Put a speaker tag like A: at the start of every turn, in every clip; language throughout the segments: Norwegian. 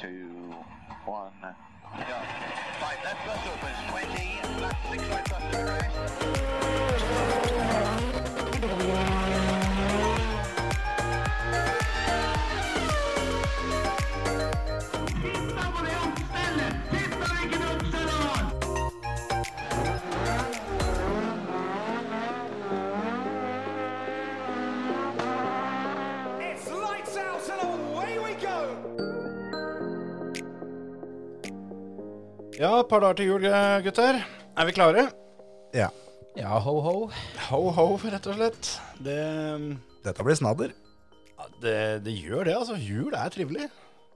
A: two, one.
B: Yeah. Right, left bus opens 20, left six right bus to the right.
C: It's lights out and away we go!
D: Ja, et par dager til jul, eh, gutter. Er vi klare?
E: Ja.
F: Ja, ho-ho.
D: Ho-ho, rett og slett. Det, um,
E: Dette blir snadder.
D: ja, det, det gjør det, altså. Jul er trivelig.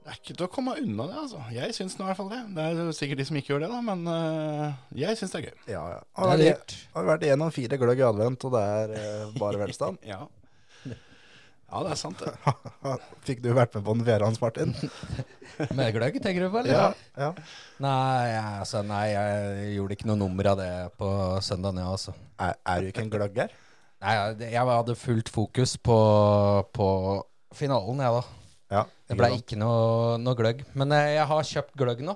D: Det er ikke til å komme unna det, altså. Jeg syns nå i hvert fall det. Det er sikkert de som ikke gjør det, da, men eh, jeg syns det er gøy.
E: Ja, ja.
F: Det
E: Har
F: er
E: vi
F: lurt.
E: har vi vært igjennom fire gløgg i advent, og det er eh, bare velstand.
D: Ja. ja, det er sant, det.
E: Fikk du vært med på den fjerde hans, Martin?
F: Med gløgg, tenker du på? eller?
E: Ja. ja.
F: Nei, jeg- altså, nei, jeg gjorde ikke noe nummer av det på søndagen, jeg, altså.
E: Er, er du ikke en gløgger?
F: Nei, jeg- jeg hadde fullt fokus på, på finalen, jeg, da.
E: Ja.
F: Det ble ikke noe, noe gløgg. Men eh, jeg, jeg har kjøpt gløgg nå.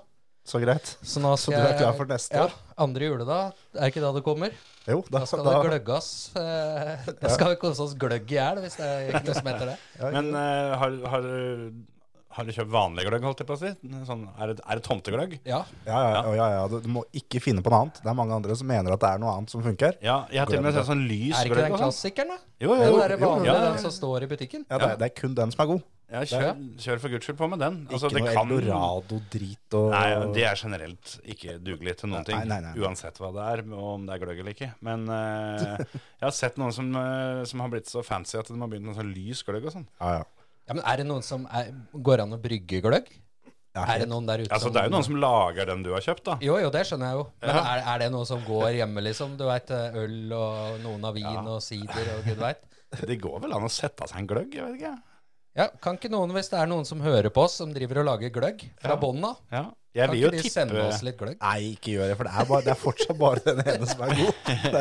E: Så greit.
F: Så, nå skal
E: du er
F: jeg-
E: klar for neste
F: ja,
E: år?
F: Andre juledag. Er ikke da det kommer?
E: Jo, da,
F: Da skal
E: da,
F: det gløggas. eh, Da skal vi kose oss gløgg i hjel, hvis det er ikke noe som heter det.
D: Men eh, har, har, har du kjøpt vanlig gløgg, holdt jeg på å si? Sånn, er, det, er det tomtegløgg?
F: Ja,
E: ja, ja, ja, ja, ja. Du, du må ikke finne på noe annet. Det er mange andre som mener at det er noe annet som funker.
D: Ja, jeg har til og med sett sånn lys
F: Er ikke
D: gløgg.
F: den
D: og sånn.
F: klassikeren, da?
D: Jo, jo,
F: Den
D: jo.
F: der vanlige,
D: Ja, ja.
F: den som står i butikken?
E: Ja, det, er- det er kun den som er god.
D: Ja, kjør, kjør for guds skyld på med den. Altså,
E: ikke
D: det
E: noe
D: kan-
E: eldorado-drit og
D: Nei, det er generelt ikke dugelig til noen
E: Nei,
D: ting.
E: nei, nei.
D: Uansett hva det er, og om det er gløgg eller ikke. Men eh, jeg har sett noen som, eh, som har blitt så fancy at de har begynt med sånn lys gløgg og sånn.
E: Ja, ja.
F: Ja, men er det noen som er, går an å brygge gløgg? er det noen der ute
D: Altså,
F: som
D: det er jo noen som lager den du har kjøpt, da.
F: Jo, jo, det skjønner jeg jo. Men
D: Ja.
F: er, er det noe som går hjemme, liksom? Du veit øl og noen av vin og sider og gud veit.
D: Det går vel an å sette seg en gløgg, jeg vet ikke.
F: Ja, kan ikke noen, hvis det er noen som hører på oss, som driver og lager gløgg fra bånn av,
D: Ja. Jeg
F: kan
D: vil jo
F: ikke de
D: tippe
F: sende oss litt gløgg?
E: Nei, ikke gjør det, for det er, bare, det er fortsatt bare den ene som er god. Det,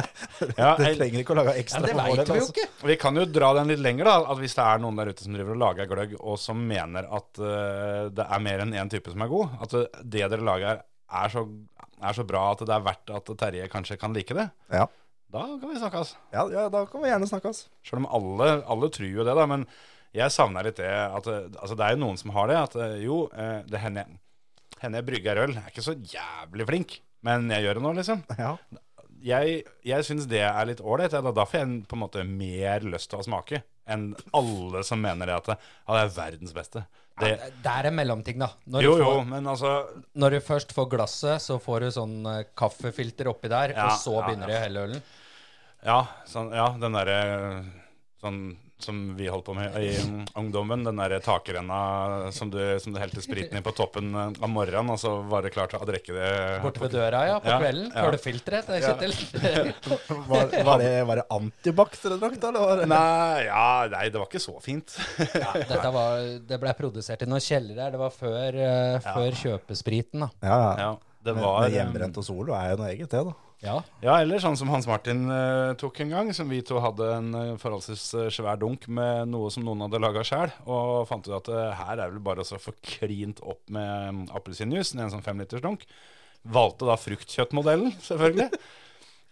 D: Ja,
E: det
D: jeg-
E: trenger ikke å lage
F: Ja,
E: ekstra
F: det
E: på vår
F: veit
E: del,
F: vi jo
E: altså.
F: ikke.
D: Vi kan jo dra den litt lenger, da. At hvis det er noen der ute som driver og lager gløgg, og som mener at eh, det er mer enn én type som er god, at eh, det dere lager er så, er så bra at det er verdt at Terje kanskje kan like det,
E: Ja.
D: da kan vi snakkes.
E: Ja, ja, da kan vi gjerne altså. snakkes.
D: Selv om alle, alle tror jo det, da. Men jeg savner litt det at eh, Altså, det er jo noen som har det. At eh, jo, eh, det hender hender jeg brygger øl. Jeg er ikke så jævlig flink, men jeg gjør det nå, liksom.
E: Ja.
D: Jeg, jeg syns det er litt ålreit. jeg, Da Da får jeg på en måte mer lyst til å smake enn alle som mener det at det, ja, det er verdens beste. Det,
F: Ja, Det er en mellomting, da. Når,
D: jo,
F: du
D: jo,
F: får,
D: men altså
F: når du først får glasset, så får du sånn eh, kaffefilter oppi der,
D: Ja,
F: og så
D: ja,
F: begynner du
D: ja.
F: å helle ølen.
D: Ja, sånn, ja den derre Sånn som vi holdt på med i ungdommen. Den derre takrenna som du, som du helte spriten i på toppen av morgenen, og så var det klart å drikke det
F: Borte ved døra, ja, på
D: Ja,
F: kvelden.
D: ja.
F: Kølefilteret til Kjetil.
E: Var, var det, var det antibac dere drakk, da? Eller var det?
D: Nei, ja, nei, det var ikke så fint.
F: Dette var, det ble produsert i noen kjellere her. Det var før, eh, før kjøpespriten, da.
E: Ja, ja.
D: Ja, det
E: Men,
D: var eh,
E: men hjemmebrent og solo er jo noe eget, det, da.
F: Ja.
D: Ja, eller sånn som Hans Martin eh, tok en gang, som vi to hadde en eh, forholdsvis eh, svær dunk med noe som noen hadde laga sjæl, og fant ut at eh, her er vel bare å så få klint opp med mm, appelsinjuice i en sånn femlitersdunk. Valgte da fruktkjøttmodellen, selvfølgelig.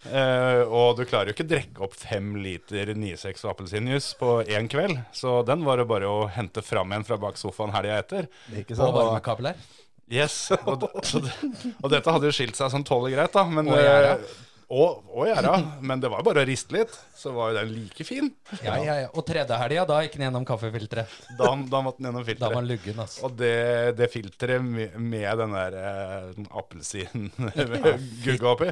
D: Eh, og du klarer jo ikke drikke opp fem liter 96 og appelsinjuice på én kveld, så den var det bare å hente fram igjen fra bak sofaen helga etter.
E: Ikke sånn-
F: Og
E: sant?
F: varmekabler.
D: Yes, og, d- så d- og dette hadde jo skilt seg sånn tålelig greit, da. Men,
F: Og gjerda.
D: eh, og, og gjerda. Men det var jo bare å riste litt, så var jo den like fin.
F: Ja, ja, ja. Og tredje helga, da gikk den gjennom kaffefilteret.
D: Da, da måtte den
F: Da var
D: gjennom filteret.
F: den luggen, altså.
D: Og det, det filteret med, med den der eh, appelsin-gugga oppi,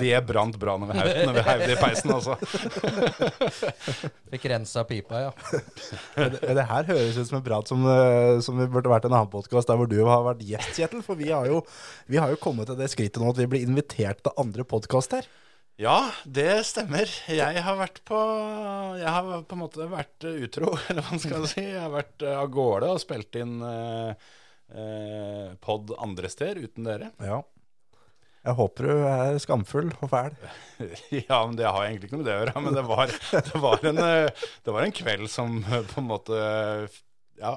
D: det brant bra når vi heiv når vi heiv det i peisen, altså.
F: Fikk rensa pipa, ja.
E: Men det- men det her høres ut som en prat som, eh, som vi burde vært i en annen podkast der hvor du har vært gjest, Kjetil. For vi har, jo, vi har jo kommet til det skrittet nå at vi blir invitert til andre podkaster.
D: Ja, det stemmer. Jeg har vært på Jeg har på en måte vært eh, utro, eller hva man skal si. Jeg har vært eh, av gårde og spilt inn eh, eh, pod andre steder uten dere.
E: Ja. Jeg håper du er skamfull og fæl.
D: Ja, men det har egentlig ikke noe med det å gjøre. Men det var, det var, en, eh, det var en kveld som eh, på en måte eh, Ja,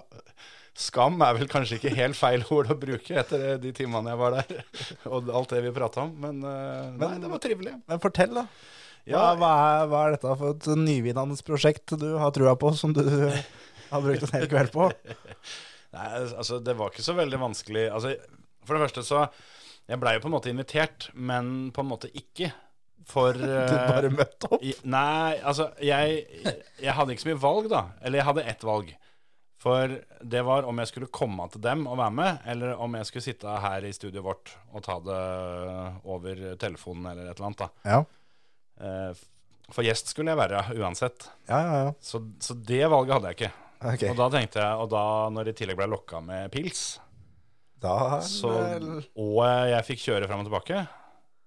D: Skam er vel kanskje ikke helt feil ord å bruke etter de timene jeg var der, og alt det vi prata om, men eh, nei, det var trivelig.
E: Men fortell, da. Hva,
D: Ja,
E: hva, er, hva er dette for et nyvinnende prosjekt du har trua på, som du har brukt en hel kveld på?
D: Nei, altså det var ikke så veldig vanskelig altså, For det første så Jeg ble jo på en måte invitert Men på en måte ikke For
E: Du bare
D: eh,
E: møtte opp?
D: i, Nei, altså jeg, jeg hadde ikke så mye valg da Eller jeg hadde ett valg For det var om jeg skulle komme til dem og være med Eller om jeg skulle sitte her i studiet vårt Og ta det over telefonen eller et eller annet da
E: Ja,
D: Eh, For gjest skulle jeg være uansett
E: ja, ja. ja.
D: Så, så det valget hadde jeg ikke
E: Ok.
D: Og da tenkte jeg, og da når det i tillegg ble lokka med pils
E: Da er
D: så,
E: det-
D: og jeg fikk kjøre fram og tilbake.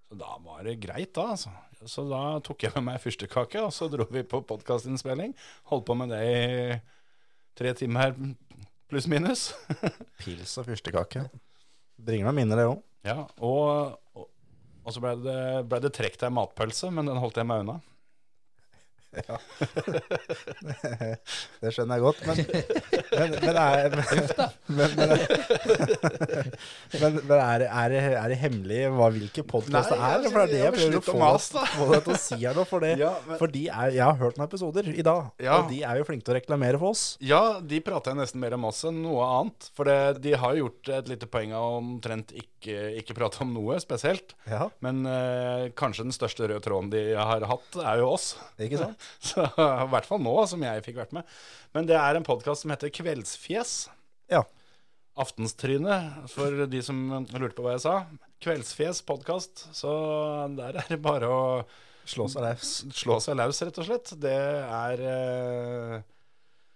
D: Så da var det greit, da. Altså. Så da tok jeg med meg fyrstekake, og så dro vi på podkastinnspilling. Holdt på med det i tre timer, pluss-minus.
E: Pils og fyrstekake. Bringer noen minner, det òg.
D: ja, og, og, og så ble det, ble det trekt ei matpølse, men den holdt jeg meg unna.
E: Det skjønner jeg godt, men Men, men, er, men, men, men, men, men er, det- er, det- er det hemmelig hva, hvilke podkast det
D: Nei,
E: er?
D: jeg-
E: For det er det jeg
D: jeg
E: prøver å
D: slutter å
E: få
D: mase,
E: deg-
D: da.
E: få deg til å si her nå. For, det,
D: Ja, men-
E: for de er, jeg har hørt noen episoder i dag,
D: Ja.
E: og de er jo flinke til å reklamere for oss.
D: Ja, de prater jeg nesten mer om oss enn noe annet. For det, de har jo gjort et lite poeng av omtrent ikke, ikke prate om noe spesielt.
E: Ja.
D: Men eh, kanskje den største røde tråden de har hatt, er jo oss.
E: Ikke sant?
D: Så i hvert fall nå, som jeg fikk vært med. Men det er en podkast som heter Kveldsfjes.
E: Ja.
D: Aftenstryne, for de som lurte på hva jeg sa. Kveldsfjes podkast. Så der er det bare å
E: Slå seg løs.
D: slå seg løs, rett og slett. Det er eh,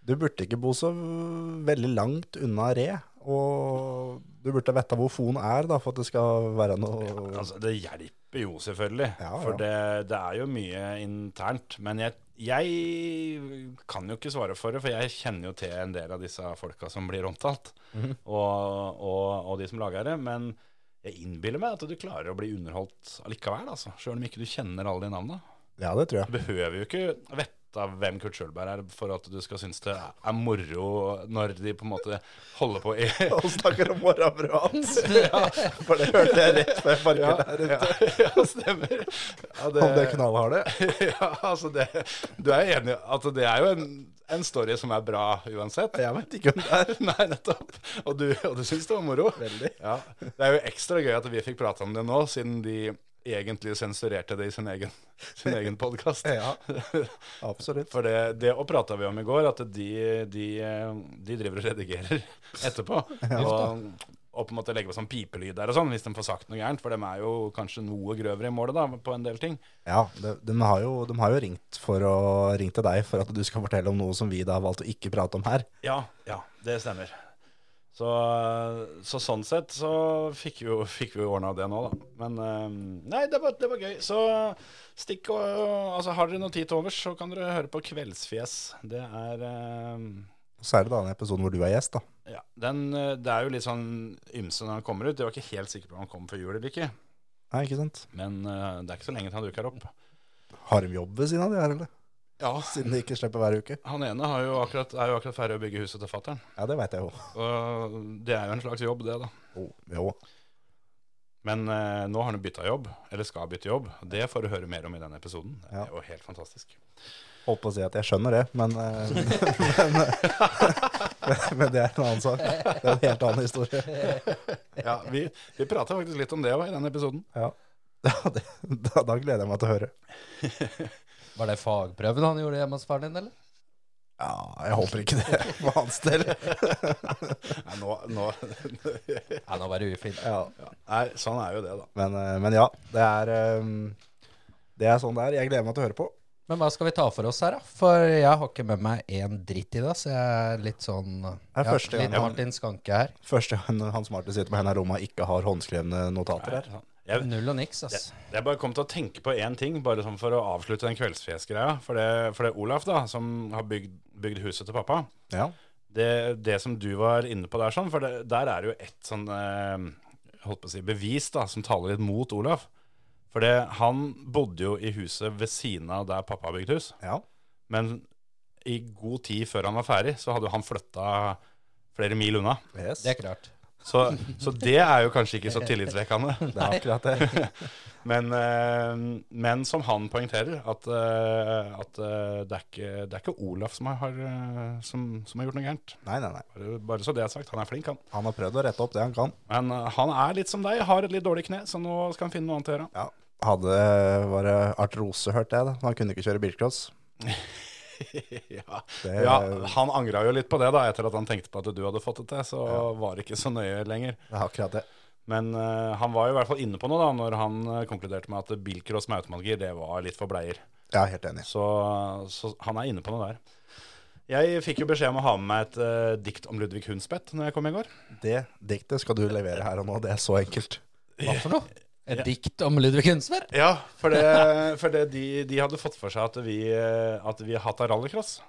E: Du burde ikke bo så veldig langt unna Re, og du burde vite hvor Fon er, da, for at det skal være noe
D: Altså, det hjelper jo selvfølgelig,
E: Ja, ja.
D: for det, det er jo mye internt. Men jeg, jeg kan jo ikke svare for det, for jeg kjenner jo til en del av disse folka som blir omtalt, og, og, og de som lager det. Men jeg innbiller meg at du klarer å bli underholdt allikevel, altså, sjøl om ikke du kjenner alle de navna.
E: Ja, det tror
D: Du
E: jeg.
D: behøver jo ikke vite hvem Kurt Schjølberg er for at du skal synes det er moro når de på en måte holder på i
E: Og snakker om morgenbrødet hans! for det hørte jeg rett før jeg
D: Ja,
E: parkerte her
D: ja,
E: ute.
D: ja, stemmer. Ja, det-
E: Om det knallharde.
D: ja, altså det, du er enig at det er jo en, en story som er bra uansett?
E: Jeg vet ikke om det er
D: Nei, nettopp. Og du, og du syns det var moro?
E: Veldig.
D: Ja. Det er jo ekstra gøy at vi fikk prate om det nå, siden de egentlig sensurerte det i sin egen, sin egen podkast.
E: Ja. Absolutt.
D: For det, det og prata vi om i går, at de, de, de driver og redigerer etterpå. Og, og på en måte legger på sånn pipelyd der og sånn, hvis de får sagt noe gærent. For de er jo kanskje noe grøvere i målet da, på en del ting.
E: Ja, de, de, har jo, de har jo ringt, for å, ringt til deg for at du skal fortelle om noe som vi da har valgt å ikke prate om her.
D: Ja, ja, det stemmer. Så, så sånn sett så fikk vi jo fikk vi ordna det nå, da. Men eh, nei, det var, det var gøy. Så stikk og Altså, har dere noe tid til overs, så kan dere høre på Kveldsfjes. Det er eh,
E: Så er det da den episoden hvor du er gjest, da.
D: Ja, den, eh, det er jo litt sånn ymse når han kommer ut. Jeg var ikke helt sikker på om han kom før jul eller ikke.
E: Nei, ikke sant?
D: Men eh, det er ikke så lenge til han dukker opp.
E: Har de jobb ved siden av de her, eller?
D: Ja,
E: Siden de ikke slipper hver uke.
D: Han ene har jo akkurat, er jo akkurat ferdig å bygge huset til fattern.
E: Ja, det veit jeg jo.
D: Og det er jo en slags jobb, det, da.
E: Jo, jo.
D: Men eh, nå har han bytta jobb, eller skal bytte jobb. Det får du høre mer om i denne episoden. Det
E: Ja.
D: er jo helt fantastisk.
E: Holdt på å si at jeg skjønner det, men eh, Men, eh, men, men det er en annen sak. Det er en helt annen historie.
D: Ja, Vi, vi prata faktisk litt om det òg i denne episoden.
E: Ja. Ja, det, da, da gleder jeg meg til å høre.
F: Var det fagprøven han gjorde hjemme hos faren din, eller?
E: Ja, jeg håper ikke det for hans del.
D: Nei, nå, nå,
F: Nei, nå var det ufint.
E: Ja.
D: nei, sånn er jo det, da.
E: Men, eh, men ja, det er eh, Det er sånn det er. Jeg gleder meg til å høre på.
F: Men hva skal vi ta for oss her, da? For jeg har ikke med meg én dritt i dag, så jeg er litt sånn
E: er
F: ja,
E: første gang.
F: Litt Martin Skanke her.
E: Første gang Hans Martin sitter på hendene i rommet og ikke har håndskrevne notater her.
D: Jeg,
F: Null og niks, ass.
D: jeg bare kom til å tenke på én ting, bare sånn for å avslutte den kveldsfjesgreia. For det, for det er Olaf, da, som har bygd, bygd huset til pappa,
E: Ja.
D: det, det som du var inne på der, sånn, for det, der er det jo et sånn eh, holdt på å si, bevis da, som taler litt mot Olaf. For det, han bodde jo i huset ved siden av der pappa har bygd hus.
E: ja.
D: Men i god tid før han var ferdig, så hadde jo han flytta flere mil unna.
E: Yes.
F: Det er klart.
D: Så, så det er jo kanskje ikke så tillitvekkende.
E: Det er akkurat det.
D: Men, eh, men som han poengterer, at, eh, at eh, det, er ikke, det er ikke Olaf som har, eh, som, som har gjort noe gærent.
E: Nei, nei, nei.
D: Bare, bare så det er sagt, han er flink, han.
E: Han har prøvd å rette opp det han kan.
D: Men eh, han er litt som deg, har et litt dårlig kne, så nå skal han finne noe annet å gjøre.
E: Ja. Hadde var det artrose, hørte jeg. da. Han kunne ikke kjøre bilcross.
D: ja.
E: Det-
D: ja, han angra jo litt på det, da, etter at han tenkte på at du hadde fått det til. Så var det ikke så nøye lenger.
E: Det er akkurat det.
D: Men eh, han var jo i hvert fall inne på noe da, når han eh, konkluderte med at bilcross med automatgir, det var litt for bleier.
E: Jeg er helt enig.
D: Så, så han er inne på noe der. Jeg fikk jo beskjed om å ha med meg et eh, dikt om Ludvig Hundspett når jeg kom i går.
E: Det diktet skal du levere her og nå. Det er så enkelt.
F: Hva for noe? Et dikt om Ludvig Hunsberg?
D: Ja, for, det, for det, de, de hadde fått for seg at vi, eh, at vi har hatt av rallycross.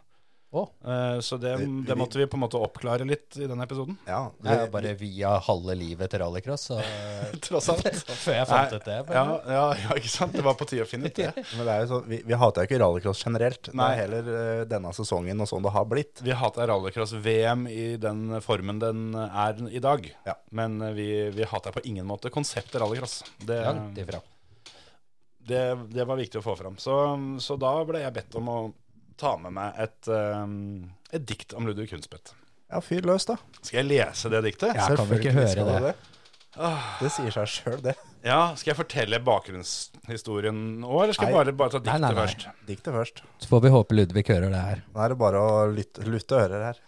F: Å.
D: Eh, Så det, det måtte vi på en måte oppklare litt i den episoden.
E: Ja,
F: Det er jo
E: vi-
F: bare via halve livet til rallycross. Så, eh,
D: Tross alt.
F: før jeg fant ut det.
D: Ja, ja, ja, ikke sant? Det var på tide å finne ut det.
E: Men det er jo sånn, vi, vi hater jo ikke rallycross generelt. Nei. Det
D: Nei.
E: er heller eh, denne sesongen og sånn det har blitt.
D: Vi hater rallycross-VM i den formen den er i dag.
E: Ja.
D: Men eh, vi, vi hater på ingen måte konseptet rallycross. Det,
F: Langt ifra.
D: det, det var viktig å få fram. Så, så da ble jeg bedt om å ta med meg et, eh, et dikt om Ludvig Kunstvedt.
E: Ja, fyr løs, da.
D: Skal jeg lese det diktet?
F: Ja, kan vi ikke
E: Selvfølgelig
F: høre
E: skal
F: det?
E: du Det sier seg sjøl, det.
D: Ja, Skal jeg fortelle bakgrunnshistorien nå, eller skal jeg
E: Nei.
D: bare, bare ta
F: Nei,
D: diktet
F: nei, nei.
D: først?
E: Diktet først.
F: Så får vi håpe Ludvig hører det her.
E: Nå er det bare å lytte, lutte ører her.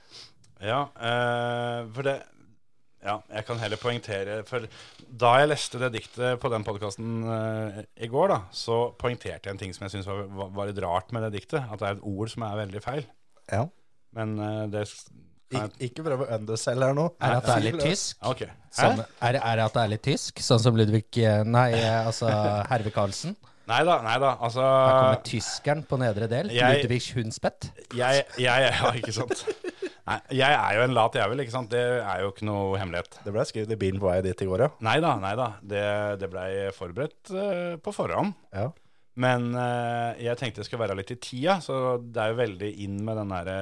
D: Ja, eh, for det Ja, jeg kan heller poengtere For da jeg leste det diktet på den podkasten i går, da, så poengterte jeg en ting som jeg syns var, var- var litt rart med det diktet. At det er et ord som er veldig feil.
E: Ja.
D: Men eh, det s- kan
E: Ik ikke prøv å underselge her nå.
F: Er det at det er litt
E: Fyr løs.
F: tysk?
D: jeg- OK.
F: Sånn,
D: Hæ?
F: er, det, er det at det er litt tysk? Sånn som Ludvig eh, Nei, eh, altså Herve Karlsen.
D: Nei da, nei da.
F: Her kommer
D: Altså
F: tyskeren på nedre del.
D: Jeg-
F: Ludvig Hundspett.
D: jeg, jeg Ja, ikke sant. Nei, jeg er jo en lat jævel, ikke sant. Det er jo ikke noe hemmelighet.
E: Det ble skrevet i bilen på vei dit i går, ja.
D: Nei da, nei da. Det, det blei forberedt eh, på forhånd.
E: ja.
D: Men eh, jeg tenkte jeg skulle være litt i tida, så det er jo veldig inn med den derre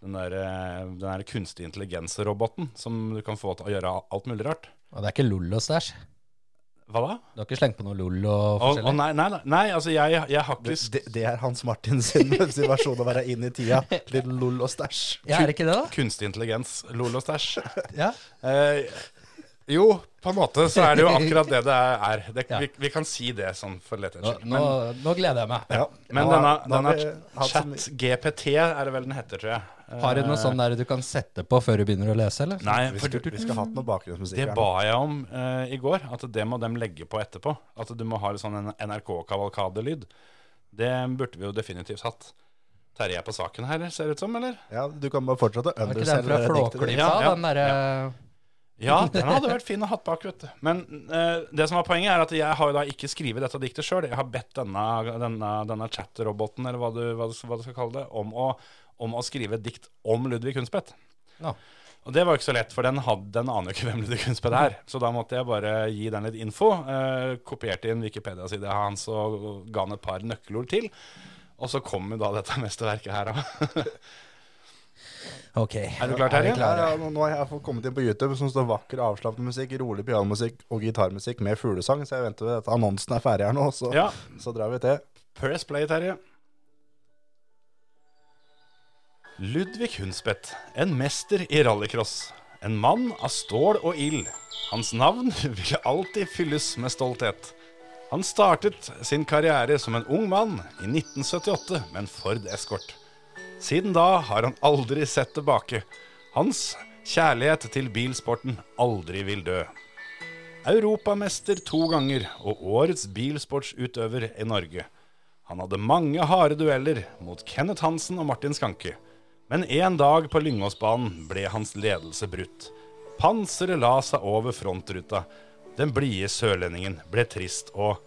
D: den der, eh, den der kunstig intelligens-roboten som du kan få til å gjøre alt mulig rart.
F: Og det er ikke LOL og stæsj.
D: Hva da?
F: Du har ikke slengt på noe LOL og
D: Å å,
F: forskjellig?
D: nei, nei, nei, nei, altså jeg, jeg har ikke
E: Det, det, det er Hans Martin sin sin versjon å være inn i tida. Litt lol og stæsj.
F: ja, er det ikke det, da?
D: kunstig intelligens, lol og stæsj.
F: Ja.
D: Eh, jo, på en måte så er det jo akkurat det det er. Det,
F: Ja.
D: vi, vi kan si det sånn for
F: Nå,
D: letthets skyld.
F: nå, nå gleder jeg meg.
E: Ja.
D: Men
E: Nå
D: denne,
E: har- nå har
D: denne
E: vi hatt så mye-
D: chat-GPT er det vel den heter, tror jeg. Eh,
F: Har du noe sånn der du kan sette på før du begynner å lese, eller?
D: Nei,
E: Vi
D: for du,
E: skulle, vi skulle hatt noe bakgrunnsmusikk
D: Det
E: her.
D: ba
E: nå.
D: jeg om eh, i går, at det må dem legge på etterpå. At du må ha litt sånn en NRK-kavalkadelyd. Det burde vi jo definitivt hatt. Terje er på saken her, ser det ut som, eller?
E: Ja, du kan bare fortsette å
F: Var ikke den
E: underselge
F: fra
E: det diktet.
F: Flåklypa,
D: Ja, ja,
F: den derre
D: Ja, den hadde vært fin å hatt bak, vet du. Men eh, det som var poenget, er at jeg har jo da ikke skrevet dette diktet sjøl. Jeg har bedt denne, denne, denne chat-roboten, eller hva du, hva, du, hva du skal kalle det, om å, om å skrive et dikt om Ludvig Hundspeth.
F: Ja.
D: Og det var jo ikke så lett, for den, hadde, den aner jo ikke hvem Ludvig Kunstbø er. Så da måtte jeg bare gi den litt info. Eh, kopierte inn Wikipedia-sida hans og ga han et par nøkkelord til. Og så kom jo da dette mesterverket her. da.
F: Ok.
D: er du klar, Terje?
E: Ja, ja, nå nå har jeg fått kommet inn på YouTube som står vakker, avslappende musikk, rolig pianomusikk og gitarmusikk med fuglesang, så jeg venter til at annonsen er ferdig her nå, så,
D: Ja.
E: så drar vi til.
D: Press play, Terje. Ludvig Hundspeth, en mester i rallycross. En mann av stål og ild. Hans navn ville alltid fylles med stolthet. Han startet sin karriere som en ung mann i 1978 med en Ford Escort. Siden da har han aldri sett tilbake. Hans kjærlighet til bilsporten aldri vil dø. Europamester to ganger og årets bilsportsutøver i Norge. Han hadde mange harde dueller mot Kenneth Hansen og Martin Skanke. Men en dag på Lyngåsbanen ble hans ledelse brutt. Panseret la seg over frontruta. Den blide sørlendingen ble trist og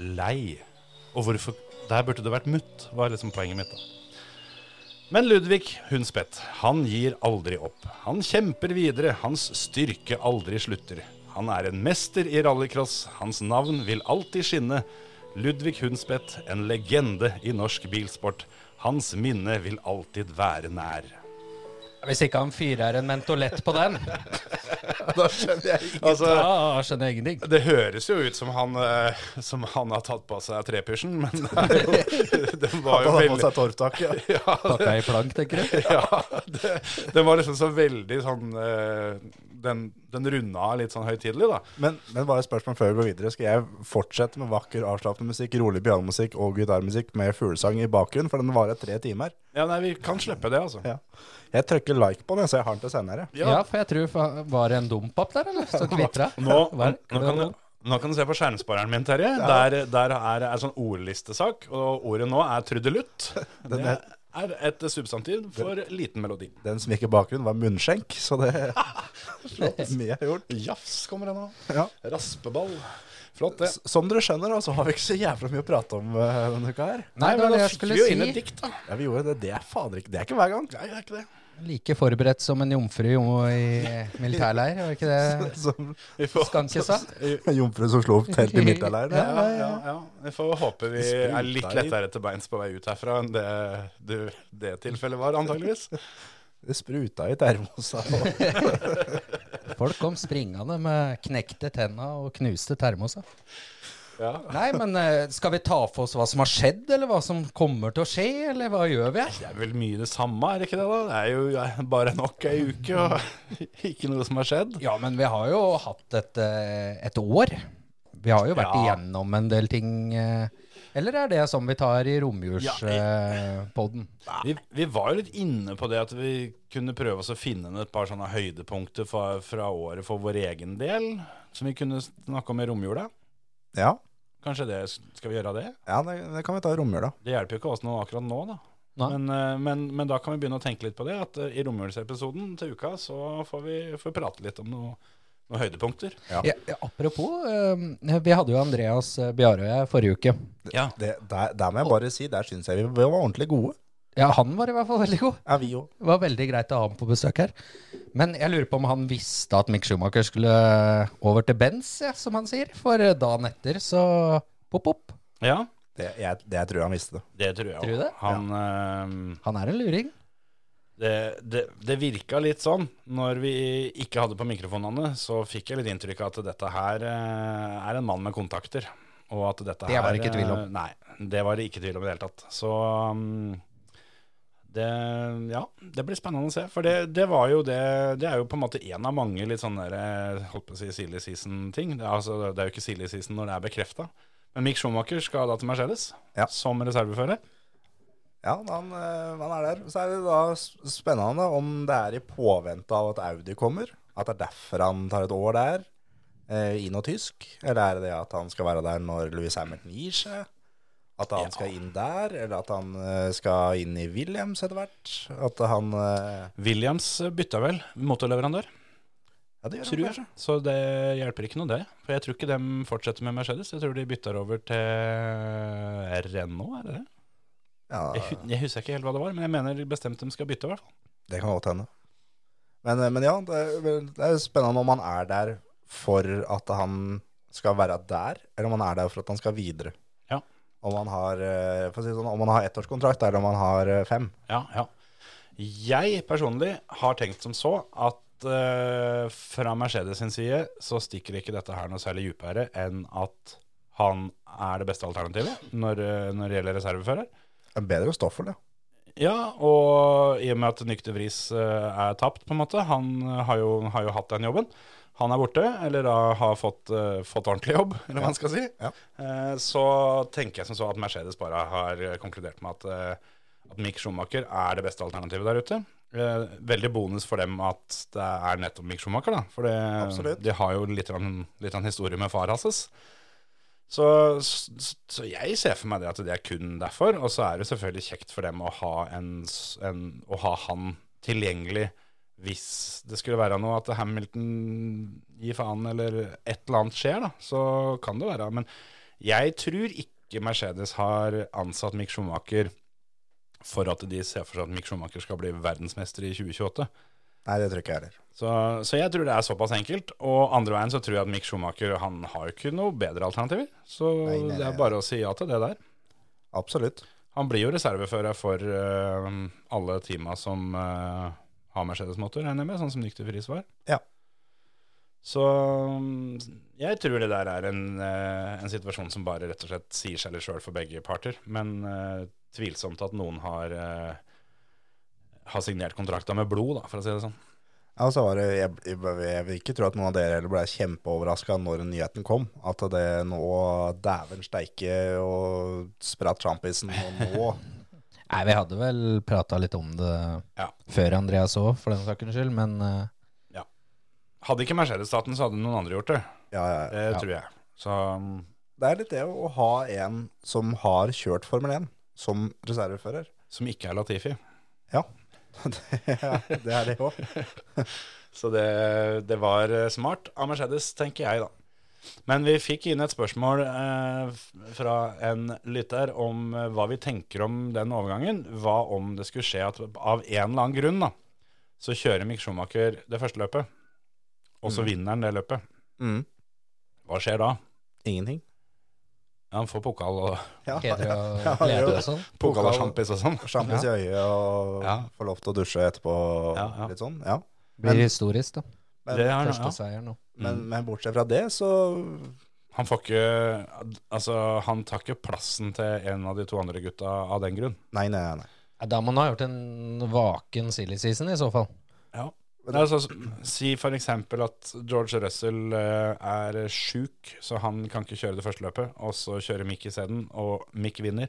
D: lei. Og hvorfor Der burde det vært mutt, var liksom poenget mitt. da. Men Ludvig Hundspett, han gir aldri opp. Han kjemper videre, hans styrke aldri slutter. Han er en mester i rallycross, hans navn vil alltid skinne. Ludvig Hundspett, en legende i norsk bilsport. Hans minne vil alltid være nær.
F: Hvis ikke han fyrer en mentolett på den,
E: Da skjønner jeg ikke.
D: Altså,
F: da skjønner jeg ingenting.
D: Det høres jo ut som han, eh, som han har tatt på seg trepysjen, men det, er jo, den
E: Han
D: var
E: har
D: jo
E: på
D: veldig
E: seg torvtaket. Ja.
D: ja, det,
F: Pakka i plank, tenker du?
D: ja, det, den var liksom så veldig sånn eh, Den, den runda av litt sånn høytidelig, da.
E: Men, men bare et spørsmål før vi går videre. Skal jeg fortsette med vakker, avslappende musikk, rolig pianomusikk og gitarmusikk med fuglesang i bakgrunnen? For den varer tre timer.
D: Ja, nei, vi kan slippe det, altså.
E: Ja. Jeg trykker like på den, så jeg har den til senere.
F: Ja. for jeg tror fa- Var det en dump-opp der, eller? Så kvitra?
D: Nå, nå,
F: Var-
D: kan du, nå kan du se på skjermspareren min, Terje. Der, der er det en sånn ordlistesak, og ordet nå er trudelutt. Det
E: Den er-
D: er et substantiv for liten melodi.
E: Den som gikk i bakgrunnen, var munnskjenk, så det Mye er gjort.
D: Jafs kommer det nå.
E: Ja.
D: Raspeball. Flott, det.
E: S- Som dere skjønner, da, så har vi ikke så jævla mye å prate om eh, denne uka her.
F: Nei, det var det
D: da
F: jeg
D: fikk vi jo inn
F: skulle
D: et
F: si.
D: dikt, da.
E: Ja, vi gjorde det. Det er fader ikke Det er ikke hver gang.
D: Nei, det er ikke det.
F: Like forberedt som en jomfru jo i militærleir, var ikke det
E: Som
D: Vi får,
F: Skanke sa?
E: jomfru som slo opp telt i midtleiren.
D: ja, ja, ja. Vi får håpe vi
E: Spruta
D: er litt
E: i.
D: lettere til beins på vei ut herfra enn det det, det tilfellet var, antageligvis.
E: Det spruta i termosa. og-
F: Folk kom springende med knekte tenna og knuste termoser.
D: Ja.
F: Nei, men eh, skal vi ta for oss hva som har skjedd, eller hva som kommer til å skje, eller hva gjør vi her?
D: Det er vel mye det samme, er det ikke det? da? Det er jo ja, bare nok ei uke, og ikke noe som har skjedd.
F: Ja, men vi har jo hatt et, eh, et år. Vi har jo vært
D: Ja.
F: igjennom en del ting. eh, Eller er det som vi tar i romjulspodden?
D: Vi, vi var jo litt inne på det at vi kunne prøve oss å finne et par sånne høydepunkter fra, fra året for vår egen del, som vi kunne snakke om i romjula.
E: Ja,
D: Kanskje det, skal vi gjøre det?
E: ja det, det kan vi ta i romjula.
D: Det hjelper jo ikke oss noe akkurat nå, da.
F: Nei.
D: Men, eh, men, men da kan vi begynne å tenke litt på det. At eh, i romjulsepisoden til uka så får vi får vi prate litt om noe- noen høydepunkter.
E: Ja.
F: Ja, ja, apropos, eh, vi hadde jo Andreas eh, Bjarø og jeg forrige uke.
D: Ja.
E: Det, der, der må jeg bare si, der syns jeg vi var ordentlig gode.
F: Ja, han var i hvert fall veldig god.
E: Er vi òg.
F: Det var veldig greit å ha ham på besøk her. Men jeg lurer på om han visste at Mick Schumacher skulle eh, over til Benz, ja, som han sier. For dagen etter så pop, pop.
D: ja.
E: Det, jeg, det jeg tror jeg han visste det.
D: Det tror jeg. også.
F: Tror du det?
D: Han, eh,
F: Han er en luring.
D: det, det, det virka litt sånn. Når vi ikke hadde på mikrofonene, så fikk jeg litt inntrykk av at dette her eh, er en mann med kontakter. Og at dette
F: Det
D: her
F: var det ikke tvil om.
D: eh, Nei, det var det ikke tvil om i det hele tatt. Så mm, det, ja, det blir spennende å se. For det, det var jo det Det er jo på en måte en av mange litt sånne der, eh, holdt på å si silly season-ting. Det, er altså, det er jo ikke silly season når det er bekrefta. Men Mick Schumacher skal da til Mercedes
E: Ja.
D: som reservefører.
E: Ja, han, eh, han er der. Så er det da s- spennende om det er i påvente av at Audi kommer. At det er derfor han tar et år der, eh, inn og tysk. Eller er det det at han skal være der når Louis Hamilton gir seg? At han skal inn der, eller at han eh, skal inn i Williams etter hvert? At han eh,
D: Williams bytta vel motorleverandør.
E: Ja, det gjør
D: tror
E: han
D: jeg.
E: kanskje.
D: Så det hjelper ikke noe, det. For jeg tror ikke de fortsetter med Mercedes. Jeg tror de bytter over til Renault, er det det? Jeg,
E: Ja,
D: hu- jeg husker ikke helt hva det var, men jeg mener bestemt de skal bytte, i hvert fall.
E: Det kan godt hende. Men, eh, men ja, det, er vel- det er spennende om han er der for at han skal være der, eller om han er der for at han skal videre.
D: Ja.
E: Om han har, eh, for å si det sånn, om han har ettårskontrakt, eller om han har eh, fem.
D: Ja, ja. Jeg personlig har tenkt som så at eh, fra Mercedes sin side så stikker ikke dette her noe særlig dypere enn at han er det beste alternativet når, eh, når det gjelder reservefører.
E: Det er bedre enn Stoffel, ja.
D: Ja, og i og med at Nykter Vris eh, er tapt, på en måte Han eh, har jo, har jo hatt den jobben. Han er borte, eller da har fått, eh, fått ordentlig jobb, eller hva man skal si.
E: Ja.
D: Eh, så tenker jeg som så at Mercedes bare har eh, konkludert med at, eh, at Mick Schumacher er det beste alternativet der ute. Eh, veldig bonus for dem at det er nettopp Mick Schumacher, da. For det,
E: Absolutt.
D: de har jo litt, grann- litt av en historie med far hans. Så, så, så jeg ser for meg det at det er kun derfor. Og så er det selvfølgelig kjekt for dem å ha, en, s- en, å ha han tilgjengelig hvis det skulle være noe at Hamilton gir faen, eller et eller annet skjer, da. Så kan det være. Men jeg tror ikke Mercedes har ansatt Mick Schumacher for at de ser for seg at Mick Schumacher skal bli verdensmester i 2028.
E: Nei, det tror ikke jeg heller.
D: Så, så jeg tror det er såpass enkelt. Og andre veien så tror jeg at Mick Schumacher han har jo ikke noe bedre alternativer. Så
E: Nei, nei,
D: det
E: nei.
D: er bare å si ja til det der.
E: Absolutt.
D: Han blir jo reservefører for eh, alle teama som eh, har Mercedes-motor, regner jeg med, sånn som Nycter Friis var.
E: Ja.
D: Så mm, jeg tror det der er en, eh, en situasjon som bare rett og slett sier seg litt sjøl for begge parter. Men eh, tvilsomt at noen har, eh, har signert kontrakta med blod, da, for å si det sånn.
E: Ja, og så var det, jeg, jeg, jeg vil ikke tro at noen av dere heller ble kjempeoverraska når nyheten kom. At det nå Dæven steike og spratt sjampisen, og nå
F: Nei, vi hadde vel prata litt om det
D: Ja.
F: før Andreas òg, for den sakens skyld, men eh,
D: Hadde ikke Mercedes-staten, så hadde noen andre gjort det.
E: Ja, ja.
D: Det tror jeg. Så mm,
E: Det er litt det å ha en som har kjørt Formel 1 som reservefører.
D: som ikke er Latifi.
E: Ja, det er det er det òg.
D: Så det, det var eh, smart av Mercedes, tenker jeg da. Men vi fikk inn et spørsmål eh, f- fra en lytter om eh, hva vi tenker om den overgangen. Hva om det skulle skje at av en eller annen grunn da, så kjører Mick Schumacher det første løpet, og så vinner han det løpet.
E: Mm.
D: Hva skjer da?
E: Ingenting.
D: Ja, han får pokal og
E: Ja,
F: Peder
E: ja.
F: og
E: Ja, det er
F: Lede
E: jo-
F: og sånn.
D: pokal og
E: Pokal.
D: sjampis og sånn.
E: Sjampis i øyet og
D: Ja.
E: få lov til å dusje etterpå.
D: Ja, ja.
E: Litt sånn, ja.
F: Blir historisk, da.
E: Men,
D: Det er,
F: Første
D: ja. Mm.
F: seier nå.
E: men, men bortsett fra det, så
D: Han får ikke, altså han tar ikke plassen til en av de to andre gutta av den grunn.
E: Nei, nei, nei. nei.
F: Ja, Da må han ha gjort en vaken silly season, i så fall.
D: Ja. Det er altså, si for eksempel at George Russell eh, er sjuk, så han kan ikke kjøre det første løpet, og så kjører Mick isteden, og Mick vinner.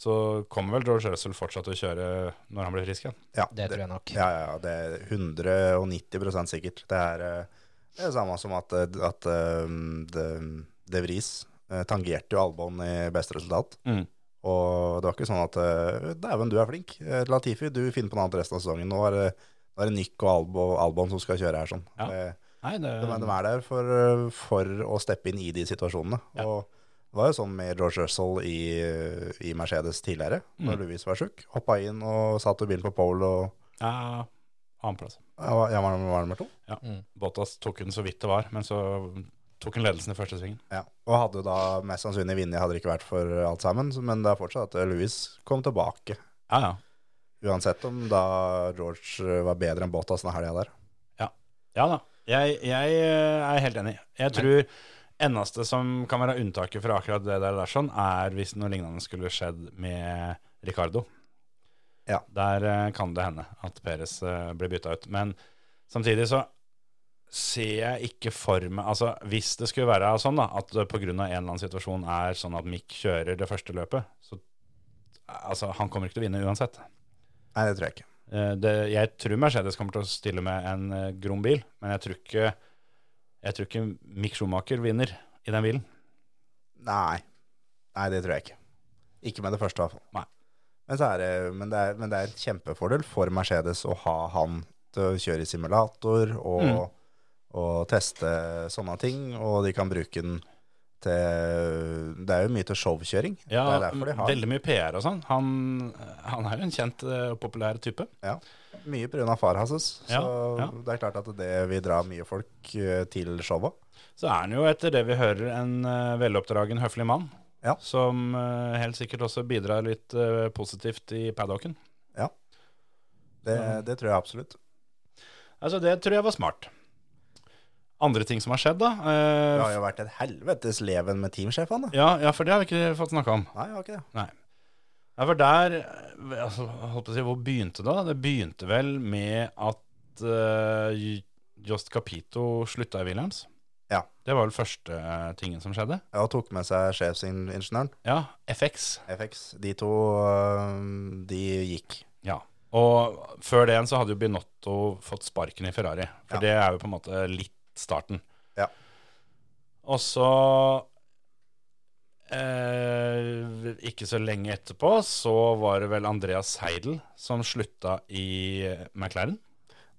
D: Så kommer vel George Russell fortsatt til å kjøre når han blir frisk igjen.
E: Ja,
F: Det tror jeg nok.
E: Ja, ja, ja, det er 190 sikkert. Det er eh, det er samme som at, eh, at eh, De, de Vries eh, tangerte jo Albon i beste resultat.
D: Mm.
E: Og det var ikke sånn at eh, Dæven, du er flink. Eh, Latifi, du finner på noe annet resten av sesongen. Nå er det, nå er det Nick og Albo, Albon som skal kjøre her sånn.
D: Ja.
E: Det,
D: Nei, det,
E: de, de er der for, eh, for å steppe inn i de situasjonene.
D: Ja.
E: Og det var jo sånn med George Russell i, eh, i Mercedes tidligere, når
D: Mm.
E: Louis var sjuk. Hoppa inn og satte bilen på pole og
D: ja, annenplass.
E: ja, var, ja, var, var nummer to.
D: Ja. Bottas tok den så vidt det var, men så tok han ledelsen i første svingen.
E: Ja, og hadde jo da mest sannsynlig vunnet, hadde det ikke vært for alt sammen. så- Men det er fortsatt at Louis kom tilbake.
D: Ja, ja.
E: Uansett om da George eh, var bedre enn Bottas den helga der.
D: Ja, ja da. Jeg, jeg eh, er helt enig. Jeg tror eneste som kan være unntaket fra akkurat det der, der sånn, er hvis noe lignende skulle skjedd med Ricardo.
E: Ja.
D: Der eh, kan det hende at Perez eh, blir bytta ut. Men samtidig så ser jeg ikke for meg Altså hvis det skulle være sånn da, at det på grunn av en eller annen situasjon er sånn at Mick kjører det første løpet, så Altså, han kommer ikke til å vinne uansett.
E: Nei, det tror jeg ikke.
D: Eh, Det, jeg tror Mercedes kommer til å stille med en eh, grom bil, men jeg tror ikke, jeg tror ikke Mick Schumacher vinner i den bilen.
E: Nei, Nei det tror jeg ikke. Ikke med det første, i hvert fall.
D: Nei.
E: Men, så er det, men, det er, men det er en kjempefordel for Mercedes å ha han til å kjøre i simulator og,
D: Mm.
E: og teste sånne ting. Og de kan bruke den til Det er jo mye til showkjøring.
D: Ja,
E: det er derfor de har den.
D: Veldig mye PR og sånn. Han, han er jo en kjent eh, og populær type.
E: Ja. Mye pga. far hans. Så
D: Ja, ja.
E: det er klart at det vil dra mye folk eh, til showet.
D: Så er han jo, etter det vi hører, en eh, veloppdragen, høflig mann.
E: Ja.
D: Som eh, helt sikkert også bidrar litt eh, positivt i paddocken.
E: Det, det tror jeg absolutt.
D: Altså, det tror jeg var smart. Andre ting som har skjedd, da. eh,
E: Det har jo vært et helvetes leven med teamsjefene.
D: ja, ja, for det har vi ikke fått snakka om.
E: Nei, jeg har ikke det.
D: Nei. Ja, for der eh, altså, jeg holdt på å si, Hvor begynte det? da? Det begynte vel med at eh, J- Jost Capito slutta i Williams.
E: Ja.
D: Det var vel første eh, tingen som skjedde.
E: Ja, og tok med seg sjefsingeniøren,
D: Ja, FX.
E: FX. De to, øh, de gikk.
D: Ja. Og før det igjen så hadde jo Binotto fått sparken i Ferrari. For
E: Ja.
D: det er jo på en måte litt starten.
E: Ja.
D: Og så eh, Ikke så lenge etterpå så var det vel Andreas Seidel som slutta i eh, McLaren.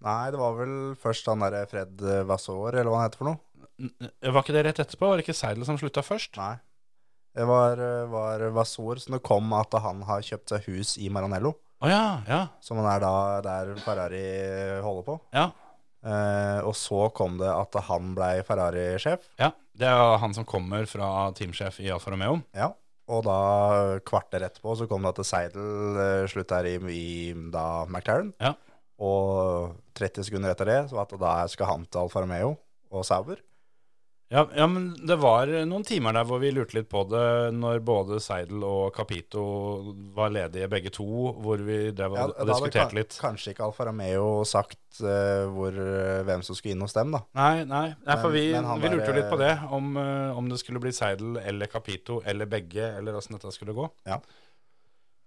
E: Nei, det var vel først han derre Fred Vasor, eller hva han heter for noe.
D: N- Var ikke det rett etterpå? Var det ikke Seidel som slutta først?
E: Nei. Det var, øh, var Vasor som det kom at han har kjøpt seg hus i Maranello,
D: Å ja, ja.
E: som han er da der Ferrari holder på.
D: Ja.
E: Eh, og så kom det at han blei Ferrari-sjef,
D: ja. Det er jo han som kommer fra teamsjef i Alfa Romeo.
E: ja. og da kvarter etterpå så kom det at Seidel eh, slutta her i, i da McLaren.
D: Ja.
E: Og 30 sekunder etter det, så at da skal han til Alfa Romeo og Sauber.
D: Ja, ja, men det var noen timer der hvor vi lurte litt på det, når både Seidel og Capito var ledige begge to, hvor vi drev og
E: Ja,
D: og
E: da hadde
D: diskuterte
E: kan-
D: litt.
E: kanskje ikke Alfa Romeo sagt eh, hvor, eh, hvem som skulle inn hos dem, da.
D: Nei, nei, nei for
E: Men-
D: vi,
E: men han
D: vi
E: der,
D: lurte jo litt
E: eh,
D: på det, om, eh, om det skulle bli Seidel eller Capito eller begge, eller åssen dette skulle gå.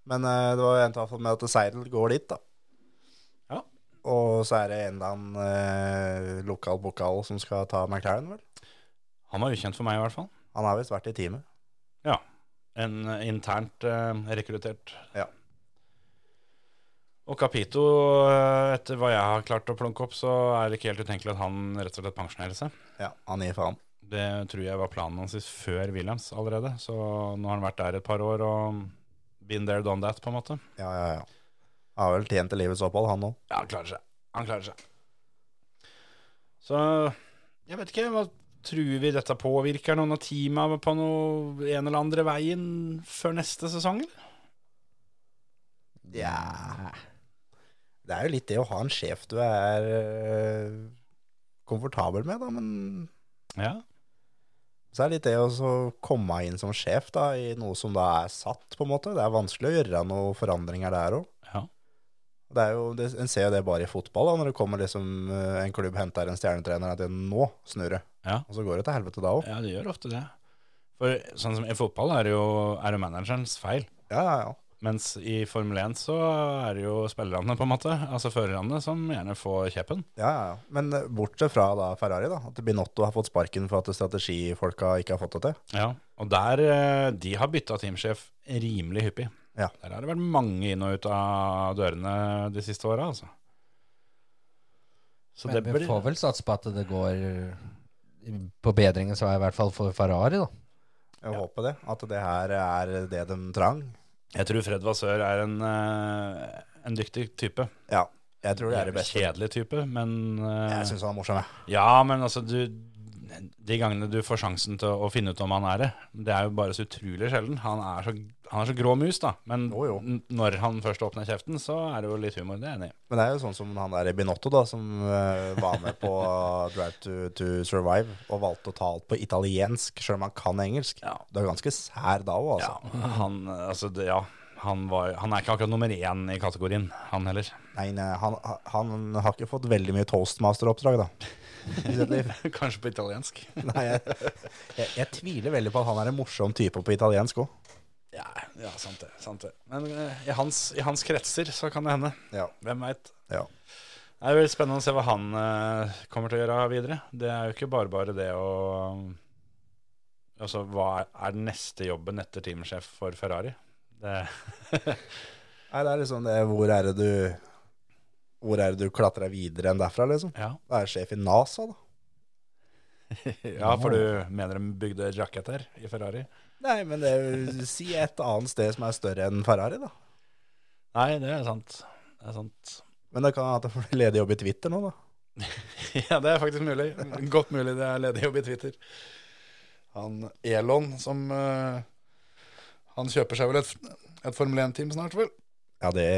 E: Men eh, det var jo endt i hvert fall med at Seidel går dit, da.
D: Ja.
E: Og så er det en eller annen eh, lokal bokal som skal ta McLaren, vel?
D: Han var ukjent for meg, i hvert fall.
E: Han har visst vært i teamet.
D: Ja. En eh, internt eh, rekruttert.
E: Ja.
D: Og Capito, eh, etter hva jeg har klart å plunke opp, så er det ikke helt utenkelig at han rett og slett pensjonerer seg.
E: Ja, han gir faen.
D: Det tror jeg var planen hans sist før Williams allerede, så nå har han vært der et par år og been there, done that, på en måte.
E: Ja, ja, ja. Han har vel tjent til livets opphold, han òg.
D: Ja, han klarer seg. Han klarer seg. Så jeg vet ikke, hva tror vi dette påvirker noen av teama på noe en eller andre veien før neste sesong? eller?
E: Ja. Det er jo litt det å ha en sjef du er eh, komfortabel med, da, men
D: Ja.
E: Så er det litt det å så komme inn som sjef da, i noe som da er satt, på en måte. Det er vanskelig å gjøre noen forandringer der òg.
D: Ja.
E: Det er jo, det, En ser jo det bare i fotball, da, når det kommer liksom eh, en klubb henter en stjernetrener at det nå snur det.
D: Ja.
E: Og så går det til helvete da òg.
D: Ja, det gjør ofte det. For sånn som i fotball er det jo, er det managerens feil.
E: Ja, ja, ja.
D: Mens i Formel 1 så er det jo spillerne, på en måte. Altså førerne som gjerne får kjeppen.
E: ja, ja, ja. Men eh, bortsett fra da Ferrari, da. At Binotto har fått sparken for at strategifolka ikke har fått det til.
D: Ja. Og der eh, De har bytta teamsjef rimelig hyppig.
E: Ja.
D: Der har det vært mange inn og ut av dørene de siste åra, altså. Så
F: Men
D: det
F: vi
D: blir
F: får vel satse på at det går på bedringens vei, i hvert fall for Ferrari, da.
E: Jeg håper det. At det her er det de trang.
D: Jeg tror Fred Vassør er en, eh, en dyktig type.
E: Ja. Jeg tror det er det beste.
D: Kjedelig type, men eh,
E: Jeg syns han er morsom, jeg.
D: Ja, men altså du, De gangene du får sjansen til å finne ut om han er det Det er jo bare så utrolig sjelden Han er så, han er så grå mus da Men
E: Jo, jo.
D: n- når han først åpner kjeften Så er det jo litt humor, det er jeg enig i
E: Men det er jo sånn som han der Binotto, da, som eh, var med på Drive to, to Survive og valgte å ta alt på italiensk, sjøl om han kan engelsk.
D: Ja.
E: Det er jo ganske sær da òg, altså.
D: ja, han, altså, det, ja, han, var, han er ikke akkurat nummer én i kategorien Han heller
E: Nei, nei, han, han har ikke fått veldig mye toastmaster-oppdrag, da. I sitt liv.
D: Kanskje på italiensk
E: Nei, jeg, jeg, jeg tviler veldig på at han er en morsom type på italiensk òg.
D: Ja, ja sant, det, sant det Men eh, i, hans, i hans kretser så kan det hende
E: Ja.
D: Hvem vet
E: ja.
D: Det er veldig spennende å se hva han eh, kommer til å gjøre videre. Det er jo ikke bare bare det å Altså, hva er, er den neste jobben etter teamsjef for Ferrari? Det,
E: Nei, det er liksom det Hvor er det du Hvor er det du klatrer videre enn derfra, liksom?
D: ja.
E: Da er jeg sjef i NASA, da.
D: ja, for du mener de bygde jacketer i Ferrari?
E: Nei, men det er jo, si et annet sted som er større enn Ferrari, da.
D: Nei, det er sant. Det er sant.
E: Men det kan hende at jeg får ledig jobb i Twitter nå, da.
D: Ja, det er faktisk mulig. Godt mulig det er ledig jobb i Twitter. Han Elon som eh, Han kjøper seg vel et, et Formel 1-team snart, vel?
E: Ja, det,